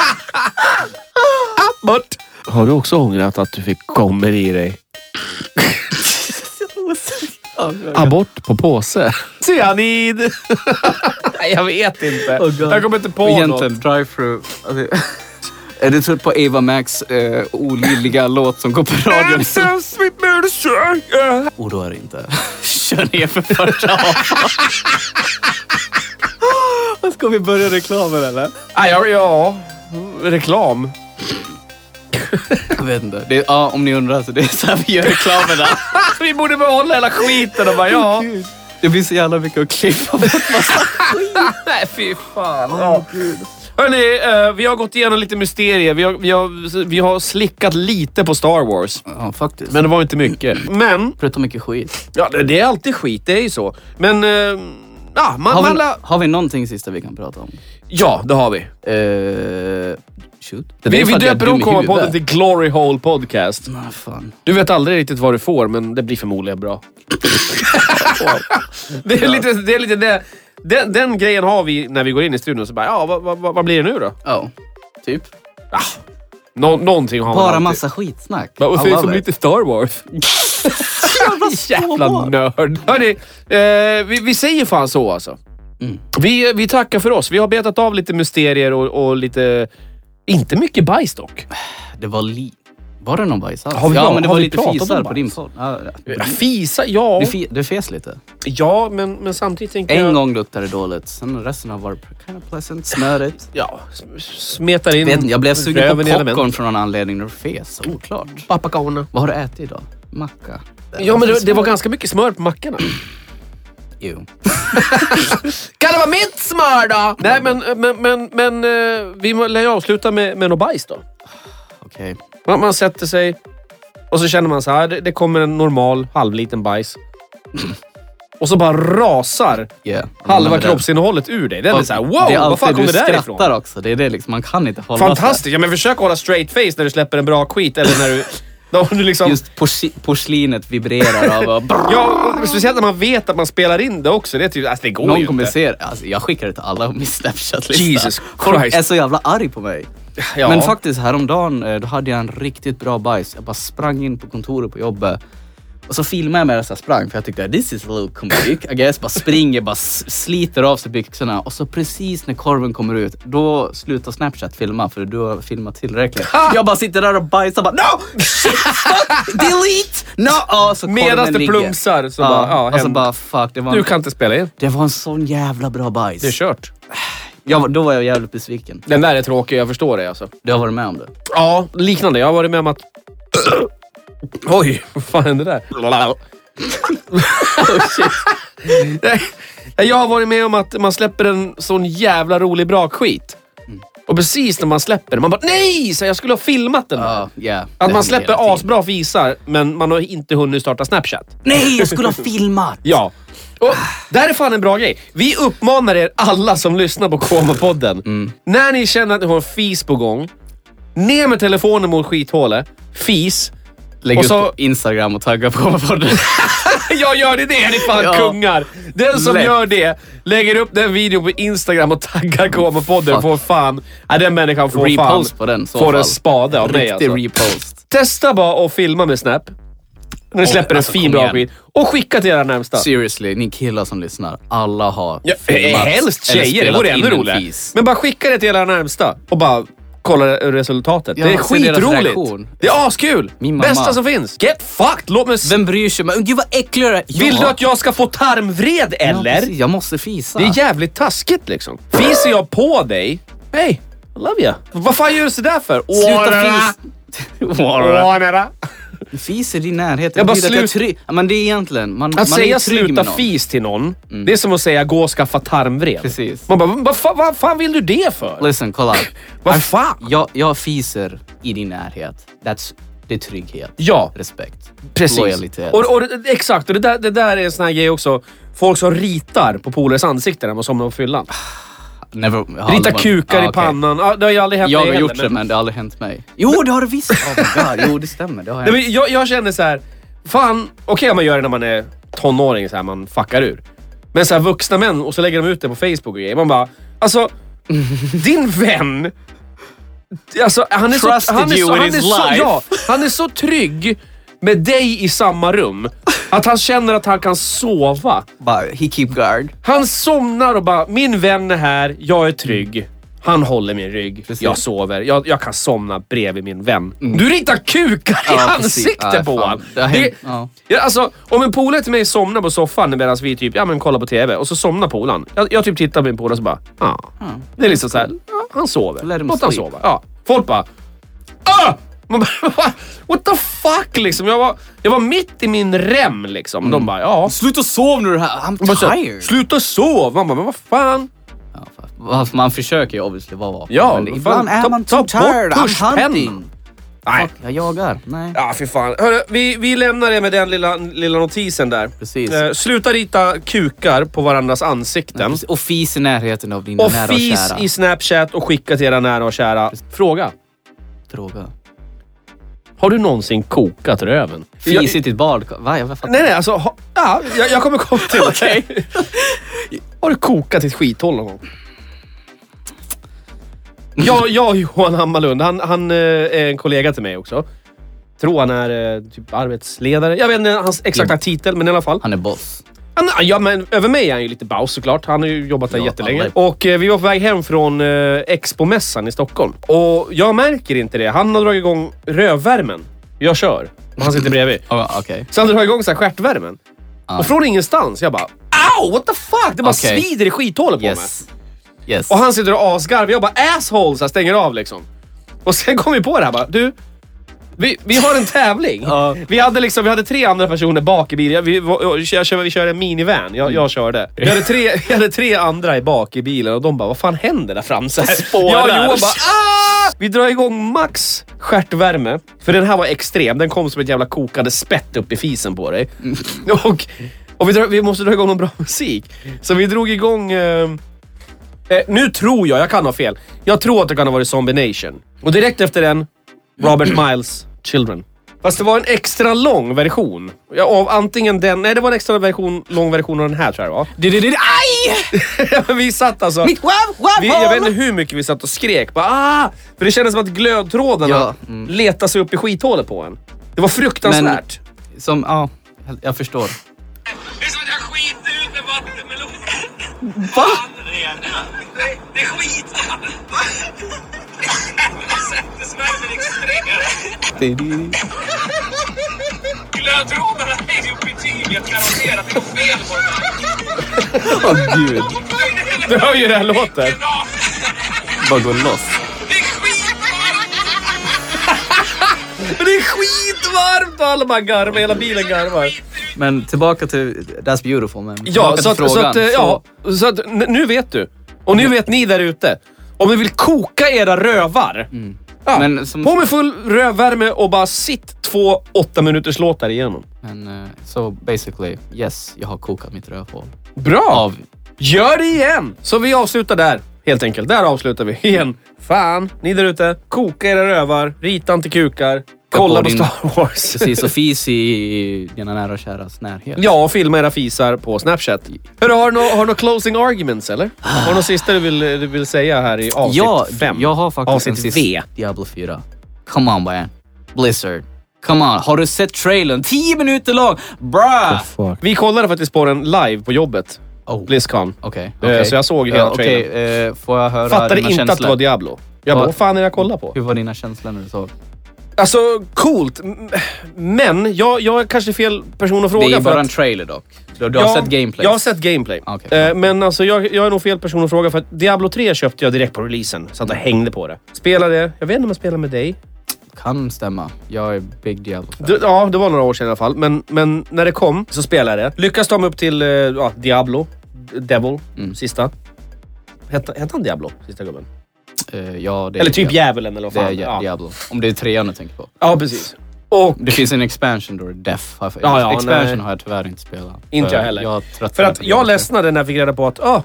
S2: Abort.
S3: Har du också ångrat att du fick kommer i dig? Abort på påse.
S2: Cyanid. Nej, jag vet inte.
S1: Oh, God.
S2: jag kommer inte på något.
S1: Egentligen, drive-through. Alltså, är du trött på Ava Max eh, olidliga låt som går på radion? Oroa dig inte. Kör ner för första avan. Ska vi börja reklamen eller?
S2: Ah, ja, ja, reklam.
S1: Jag vet inte. Det är, ja, om ni undrar så det är så här vi gör reklamerna.
S2: Vi borde behålla hela skiten och bara ja.
S1: Det blir så jävla mycket att klippa bort.
S2: Nej, fy fan. Ja. Hörni, eh, vi har gått igenom lite mysterier. Vi har, vi, har, vi har slickat lite på Star Wars.
S1: Ja, faktiskt.
S2: Men det var inte mycket. Men,
S1: Förutom mycket skit.
S2: ja, det- det är alltid skit. Det är ju så. Men, eh, ja, man,
S1: Har
S2: man
S1: vi,
S2: la-
S1: har vi någonting sista vi kan prata om?
S2: ja, det har vi.
S1: Eh, shoot. Det där
S2: Vi,
S1: är för
S2: vi
S1: att jag är
S2: döper
S1: dum
S2: om
S1: i
S2: komma-podden
S1: huvudet.
S2: till Glory Hole Podcast.
S1: Ah, fan.
S2: Du vet aldrig riktigt vad du får, men det blir förmodligen bra. det är lite det. Är lite det. Den, den grejen har vi när vi går in i studion. Så bara, ja, vad, vad, vad vad blir det nu då?
S1: Ja, typ.
S2: Nå, någonting har man
S1: Bara
S2: alltid.
S1: massa skitsnack.
S2: Vad
S1: I
S2: säger
S1: love
S2: som
S1: it.
S2: lite Star Wars? Jävla nörd. Hörni, eh, vi, vi säger fan så alltså.
S1: Mm.
S2: Vi, vi tackar för oss. Vi har betat av lite mysterier och, och lite... Inte mycket bajs dock.
S1: Det var li... Var det någon bajs alls?
S2: Har vi pra-
S1: ja, men det
S2: har
S1: var
S2: vi
S1: lite
S2: pratat om
S1: fisar på
S2: bajs?
S1: din podd. Ja, ja.
S2: Fisa, ja.
S1: Du, fi- du fes lite.
S2: Ja, men, men samtidigt tänker
S1: En
S2: jag...
S1: gång luktade det dåligt, sen resten har varit kind of pleasant, smörigt.
S2: Ja, sm- smetar in
S1: Jag vet inte, jag blev sugen på
S2: röven i element.
S1: popcorn från någon anledning när du fes. Oklart.
S2: Papakona.
S1: Vad har du ätit idag? Macka?
S2: Ja, men det, det var ganska mycket smör på mackorna.
S1: Jo.
S2: Kan det vara mitt smör då? Nej, men, men, men, men eh, vi må- lär ju avsluta med, med något bajs då.
S1: Okej.
S2: Man, man sätter sig och så känner man så här. Det, det kommer en normal halvliten bajs. Och så bara rasar
S1: Yeah.
S2: halva kroppsinnehållet ur dig. Den är så här, wow, vad fan kommer det där
S1: Du
S2: ifrån?
S1: skrattar också. Det är det liksom, man kan inte hålla sig.
S2: Fantastiskt! Ja, men försök hålla straight face när du släpper en bra skit eller när du... Då du liksom,
S1: Just porsli- porslinet vibrerar av och
S2: Ja, och speciellt när man vet att man spelar in det också. Det, är typ, alltså, det går
S1: Någon
S2: ju
S1: kommer
S2: inte.
S1: se det. Alltså, jag skickar det till alla på min Snapchat-lista.
S2: Jesus
S1: Folk
S2: Christ.
S1: är så jävla arg på mig.
S2: Ja.
S1: Men faktiskt häromdagen eh, då hade jag en riktigt bra bajs. Jag bara sprang in på kontoret på jobbet. Och så filmade jag medan jag sprang för jag tyckte this is a little comedic. I guess. Bara springer, bara s- sliter av sig byxorna. Och så precis när korven kommer ut, då slutar Snapchat filma för du har filmat tillräckligt. Jag bara sitter där och bajsar bara no! Shit! Fuck! Delete! No! Ja, så korven
S2: Medan det
S1: ligger.
S2: plumsar så bara, ja,
S1: och så
S2: hem.
S1: bara fuck. Det var,
S2: Du
S1: en,
S2: kan inte spela in.
S1: det var en sån jävla bra bajs.
S2: Det är kört.
S1: Jag, var- då var jag jävligt besviken.
S2: Den där är tråkig, jag förstår det alltså.
S1: Du har varit med om det.
S2: Ja, liknande. Jag har varit med om att... Oj, vad fan hände där? Nej, jag har varit med om att man släpper en sån jävla rolig bra skit. Och precis när man släpper den, man bara nej! Så jag skulle ha filmat den. här.
S1: Ja, yeah.
S2: Att
S1: Det
S2: man
S1: händer hela
S2: släpper
S1: tiden.
S2: asbra fisar, men man har inte hunnit starta Snapchat.
S1: Nej, jag skulle ha filmat!
S2: Ja. Och där är fan en bra grej. Vi uppmanar er alla som lyssnar på Koma-podden.
S1: Mm.
S2: När ni känner att ni har en fis på gång, ner med telefonen mot skithålet, fis.
S1: Lägg
S2: Och
S1: ut
S2: så-
S1: på Instagram och tagga på podden.
S2: Jag gör det, det är ni fan
S1: Ja.
S2: kungar! Den som
S1: Lätt.
S2: gör det, lägger upp den videon på Instagram och taggar Koma-podden
S1: Fuck.
S2: får fan... Ja, den människan får
S1: Repost
S2: fan...
S1: på den i så
S2: får en
S1: fall.
S2: spade av mig
S1: Riktig
S2: alltså.
S1: repost.
S2: Testa bara att filma med Snap. När ni släpper
S1: alltså,
S2: en
S1: kom
S2: fin bra
S1: igen.
S2: skit. Och skicka till era närmsta.
S1: Seriously, ni killar som lyssnar. Alla har
S2: Ja, eh,
S1: filmat.
S2: helst
S1: eller
S2: tjejer, det
S1: spelat
S2: vore
S1: in
S2: ännu
S1: en
S2: roligare.
S1: fis.
S2: Men bara skicka det till era närmsta och bara kolla resultatet.
S1: Ja,
S2: det är
S1: se deras
S2: skitroligt.
S1: reaktion.
S2: Det är askul.
S1: Min mamma.
S2: Bästa som finns. Get fucked! Låt mig... s-
S1: Vem bryr sig? Men gud vad äcklig du är. Ja.
S2: Vill du att jag ska få tarmvred
S1: Ja,
S2: eller?
S1: precis. jag måste fisa.
S2: det är jävligt taskigt liksom. Fiser jag på dig? Hey, I love you. Vad fan gör du sådär för?
S1: Sluta
S2: Årara.
S1: fis.
S2: Årara.
S1: Fis i din närhet. Det
S2: Jag bara
S1: betyder att
S2: slut-
S1: jag är trygg. Ja, Men det är egentligen, man,
S2: Att
S1: man är
S2: säga
S1: ju trygg
S2: sluta
S1: med någon. Mm.
S2: fis till någon, det är som att säga gå och skaffa tarmvred.
S1: Precis.
S2: Man bara, vad fan, vad fan vill du det för?
S1: Listen, kolla.
S2: Vad fan?
S1: Jag, jag fiser i din närhet. That's, det är trygghet.
S2: Ja.
S1: Respekt.
S2: Precis.
S1: Lojalitet.
S2: Och, och, exakt, och det där, det där är en sån här grej också. Folk som ritar på polares ansikten när man somnar på fyllan.
S1: Never, jag har
S2: Rita
S1: aldrig varit-
S2: kukar
S1: Ja,
S2: i
S1: okej.
S2: pannan. Ja, det har ju aldrig hänt
S1: Jag
S2: mig
S1: har
S2: heller,
S1: gjort det, men det har aldrig hänt mig. Jo, det har det visst! Oh my God. Jo, det stämmer. Det har
S2: Nej,
S1: hänt.
S2: men jag, jag känner så här. fan, okej om man gör det när man är tonåring, så här, man fuckar ur. Men så här, vuxna män, och så lägger de ut det på Facebook och grejer. Man bara, alltså, din vän. Alltså, han är så,
S1: Trusted
S2: han är
S1: you
S2: så,
S1: with
S2: han är
S1: his
S2: så,
S1: life.
S2: ja, han är så trygg med dig i samma rum. Att han känner att han kan sova.
S1: Bara, he keep guard.
S2: Han somnar och bara, min vän är här, jag är trygg. Han håller min rygg,
S1: Precis. Mm.
S2: jag sover, jag, jag kan somna bredvid min vän. Du ritar kukar i
S1: Ja, precis.
S2: ansiktet
S1: Ja,
S2: på
S1: fan.
S2: honom!
S1: Det har
S2: Det-
S1: hänt, ja.
S2: Ja, alltså, om en polare till mig somnar på soffan medan vi typ, ja, men kollar på TV och så somnar polaren. Jag, jag typ tittar på min polare och så bara, ja.
S1: Mm.
S2: Det är liksom såhär, ja, han sover.
S1: Let him
S2: Låt han
S1: sleep.
S2: sova. Ja. Folk bara, ah! Man bara, "Va? what the fuck liksom. Jag var, jag var mitt i min rem liksom.
S1: Mm.
S2: De bara, ja.
S1: Sluta sov nu det här. I'm
S2: De bara, så här,
S1: tired.
S2: Sluta sova. Man bara, men vad fan.
S1: Ja, fa- alltså, man försöker ju obviously vara vaken.
S2: Ja,
S1: men
S2: fan,
S1: ibland
S2: ta-
S1: är man
S2: ta
S1: too
S2: bort
S1: tired. I'm
S2: pushpennan.
S1: hunting.
S2: Nej.
S1: Fuck, jag jagar. Nej.
S2: Ja, fy fan. Hörru, vi, vi lämnar det med den lilla, lilla notisen där.
S1: Precis.
S2: Eh, sluta rita kukar på varandras ansikten.
S1: Och fis i närheten av dina
S2: och
S1: nära och
S2: fis
S1: kära.
S2: i Snapchat och skicka till era nära och kära. Fråga.
S1: Fråga.
S2: Har du någonsin kokat röven?
S1: Fis i ditt badkar. Va? Jag, fattar.
S2: Nej, nej, alltså... Ha, ja, jag, jag kommer komma till det. Har du kokat ditt skithål någon gång? Jag, jag och Johan Hammarlund, han, han eh, är en kollega till mig också. Tror han är eh, typ arbetsledare. Jag vet inte hans exakta titel, men i alla fall.
S1: Han är boss.
S2: Han, ja, men över mig är han ju lite baus såklart. Han har ju jobbat där
S1: Ja,
S2: jättelänge.
S1: alla
S2: Och eh, vi var på väg hem från eh, Expo-mässan i Stockholm. Och jag märker inte det. Han har dragit igång rövvärmen. Jag kör. Och han sitter bredvid.
S1: Oh, Okej.
S2: Så han drar igång så här stjärtvärmen.
S1: Ja.
S2: Och från ingenstans, jag bara Au! What the fuck? Det bara
S1: Okej.
S2: svider i skithålet på mig.
S1: Yes. Yes.
S2: Och han sitter och asgarvar. Jag bara asshole så här, stänger av liksom. Och sen kom vi på det här bara, du. Vi, vi har en tävling.
S1: Ja.
S2: vi, hade liksom, vi hade tre andra personer bak i bilen. Vi, vi, jag, kör- vi körde en minivan. Jag, jag körde. Vi hade, tre, vi hade tre andra i bak i bilen och de bara, vad fan händer där fram? Så här.
S1: Spårar.
S2: Jag och Johan bara, ah! Vi drar igång max stjärtvärme. För den här var extrem. Den kom som ett jävla kokande spett upp i fisen på dig. Och, och vi, drar, vi måste dra igång någon bra musik. Så vi drog igång... Eh, Eh, nu tror jag, jag kan ha fel. Jag tror att det kan ha varit Zombie Nation. Och direkt efter den, Robert Miles Children. Fast det var en extra lång version. Ja, av antingen den... Nej, det var en extra version, lång version av den här tror jag det var.
S1: Du, du, du, du, aj!
S2: Ja, men vi satt alltså...
S1: Mitt wow, wow,
S2: Vi, jag vet inte hur mycket vi satt och skrek. Bara, ah! För det kändes som att glödtrådarna
S1: Ja, mm.
S2: letade sig upp i skithålet på en. Det var fruktansvärt.
S1: Som, ja. Jag förstår.
S7: Det är sånt jag skiter ut med vattenmeloner.
S1: Va?
S7: Det, det är skit. Sätesvärmen är extrem. Glödtrådarna är ju betydligt garanterat. Det är fel på den här.
S1: Åh gud.
S2: Du hör ju hur det här låter.
S1: Bara gå loss.
S7: Det är skit.
S2: Men det är skitvarmt och alla bara garvar. Hela bilen garvar.
S1: Men tillbaka till That's beautiful. Men
S2: Ja,
S1: tillbaka
S2: så att,
S1: till
S2: så att, eh,
S1: frågan,
S2: ja, så att n- nu vet du. Och nu vet ni där ute. Om ni vill koka era rövar. Ja,
S1: Mm. Men som-
S2: på med full rövvärme och bara sitt två åtta minuters låtar igenom.
S1: Men eh, så basically, yes, jag har kokat mitt rövhål.
S2: Bra!
S1: Av
S2: Gör det igen! Så vi avslutar där. Helt enkelt. Där avslutar vi igen. Fan, ni där ute. Koka era rövar. Rita inte kukar. Kolla
S1: på
S2: på
S1: din-
S2: Star Wars.
S1: precis och fis i dina nära och käras närhet.
S2: Ja, och filma era fisar på Snapchat. Hörru, har du några har du nå closing arguments eller? Har du något sista du vill, du vill säga här i avsnitt
S1: ja,
S2: fem?
S1: jag har faktiskt
S2: Avsnitt
S1: en sista.
S2: V.
S1: Diablo 4. Come on man. Blizzard. Come on. Har du sett trailern? 10 minuter lång! Bruh!
S3: Fuck.
S2: Vi kollade faktiskt på den live på jobbet.
S1: Oh.
S2: Blizzcon.
S1: Okej.
S2: Eh,
S1: okej.
S2: så jag såg hela
S1: Ja, okej,
S2: trailern.
S1: eh, får jag höra
S2: Fattade
S1: dina
S2: inte
S1: känslor?
S2: att det var Diablo. Jag
S1: Vad-
S2: bara, vad fan är det jag kollar på?
S1: Hur var dina känslor när du såg?
S2: Alltså, coolt. m- Men jag, jag är kanske fel person att fråga.
S1: Det är
S2: för
S1: bara
S2: att-
S1: en trailer dock. Du, du har
S2: Ja,
S1: sett gameplay? Ah,
S2: Jag har sett gameplay.
S1: Okej.
S2: Eh, men alltså, jag, jag är nog fel person att fråga för att Diablo 3 köpte jag direkt på releasen. Så att jag hängde på det. Spelade, jag vet inte om jag spelade med dig.
S1: Kan stämma. Jag är big Diablo fan.
S2: Du, ja, det var några år sedan i alla fall. Men, men när det kom så spelade jag det. Lyckas ta mig upp till eh, ja, Diablo. D- Devil,
S1: Mm.
S2: sista. Hette, hette han Diablo, sista gubben?
S1: Eh, ja, det är
S2: Eller typ
S1: Diablo.
S2: djävulen eller vad
S1: Det
S2: fan.
S1: är ja. Diablo. Om det är trean du tänker på.
S2: Ja, precis. Och
S1: Det finns en expansion då det är Death. Har jag för...
S2: Ja, ja,
S1: expansion
S2: nej.
S1: har jag tyvärr inte spelat.
S2: Inte
S1: För
S2: jag heller.
S1: Jag
S2: för att jag ledsnade när jag fick reda på att oh,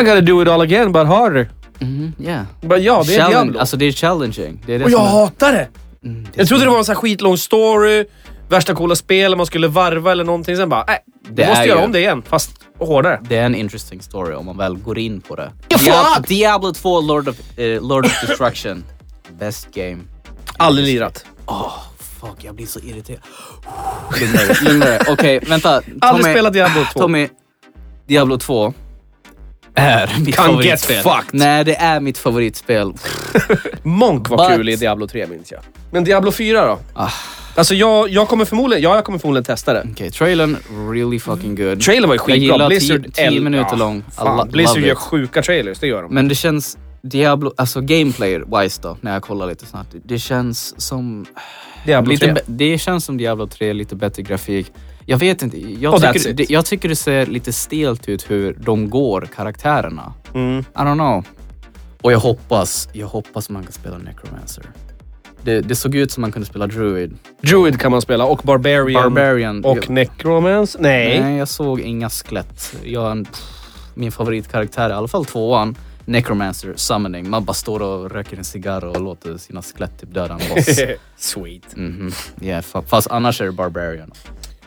S2: I gotta do it all again but harder.
S1: Mm, yeah.
S2: But ja, det är
S1: Challenge-
S2: Diablo.
S1: Alltså det är challenging. Det är det
S2: och jag
S1: som är-
S2: hatar det!
S1: Mm, det är
S2: Jag trodde
S1: som-
S2: det var en sån här skitlång story, värsta coola spel, man skulle varva eller någonting. Sen bara, nej,
S1: Det
S2: vi måste
S1: är
S2: göra
S1: ju-
S2: om det igen. Fast hårdare.
S1: Det är en interesting story om man väl går in på det. Diablo, Diablo 2 Lord of, eh, Lord of Destruction. Best game.
S2: Aldrig lirat.
S1: Fuck, jag blir så irriterad. Lugna dig, lugna dig. Okej, vänta.
S2: Aldrig spelat Diablo 2.
S1: Tommy, Diablo 2 är mitt
S2: Kan get
S1: favoritspel.
S2: fucked.
S1: Nej, det är mitt favoritspel.
S2: Monk var
S1: But-
S2: kul i Diablo 3 minns jag. Men Diablo 4 då?
S1: Ah.
S2: Alltså jag, jag kommer förmodligen, ja, jag kommer förmodligen testa det.
S1: Okej, trailern really fucking good.
S2: Trailern var ju
S1: Jag
S2: skitbra.
S1: gillar tio-
S2: Blizzard
S1: tio
S2: el-
S1: minuter
S2: ja,
S1: lång. I
S2: Fan,
S1: lo-
S2: Blizzard
S1: love
S2: gör
S1: it.
S2: sjuka trailers, det gör de.
S1: Men det känns Diablo, alltså gameplayer-wise då, när jag kollar lite snabbt. Det känns som...
S2: Diablo
S1: lite
S2: 3.
S1: bä- det känns som Diablo 3, lite bättre grafik. Jag vet inte. Jag
S2: Och that's
S1: tycker,
S2: it.
S1: det, jag tycker det ser lite stelt ut hur de går, karaktärerna.
S2: Mm.
S1: I don't know. Och jag hoppas, jag hoppas man kan spela Necromancer. Det, det såg ut som man kunde spela Druid.
S2: Druid kan man spela och Barbarian.
S1: Barbarian.
S2: Och Necromance. Nej.
S1: Nej, jag såg inga skelett. Jag, pff, min favoritkaraktär, i alla fall tvåan, Necromancer Summoning. Man bara står och röker en cigarr och låter sina skelett typ döda en boss.
S2: Sweet.
S1: Mhm. yeah, fa- fast annars är det Barbarian.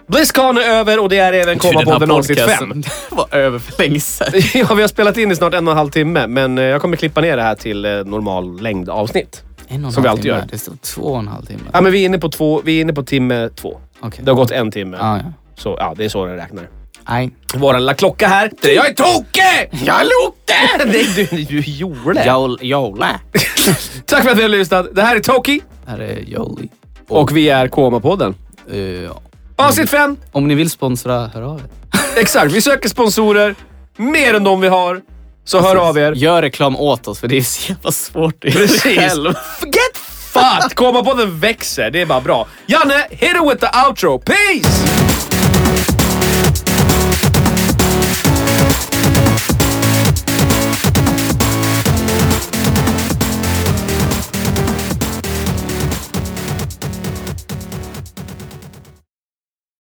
S2: Blizzcon är över och det är även komma på den avsnitt 5.
S1: var över för länge sedan.
S2: Ja, vi har spelat in i snart en och en halv timme, men eh, jag kommer klippa ner det här till eh, normal längd avsnitt.
S1: En och en
S2: Som vi
S1: halv
S2: alltid
S1: timme.
S2: gör.
S1: Det står två och en halv timme.
S2: Ja, men vi är inne på, två, vi är inne på timme två.
S1: Okej.
S2: Det har gått en timme.
S1: Ah, ja.
S2: Så ja, det är så den räknar.
S1: Nej.
S2: Vår lilla klocka här. Jag är Toke! Jag är Loke! Nej, du, du är Jole.
S1: Jol- Jola.
S2: Tack för att ni har lyssnat. Det här är Toki
S1: Här är Jolie.
S2: och vi är Koma-podden.
S1: Eh,
S2: Avsnitt 5.
S1: om ni vill sponsra, hör av er.
S2: Exakt, vi söker sponsorer. Mer än de vi har. Så hör av er.
S1: Gör reklam åt oss, för det är så jävla svårt. att göra
S2: Precis.
S1: själv.
S2: Get fucked! Komma-podden växer. Det är bara bra. Janne, hit it with the outro. Peace!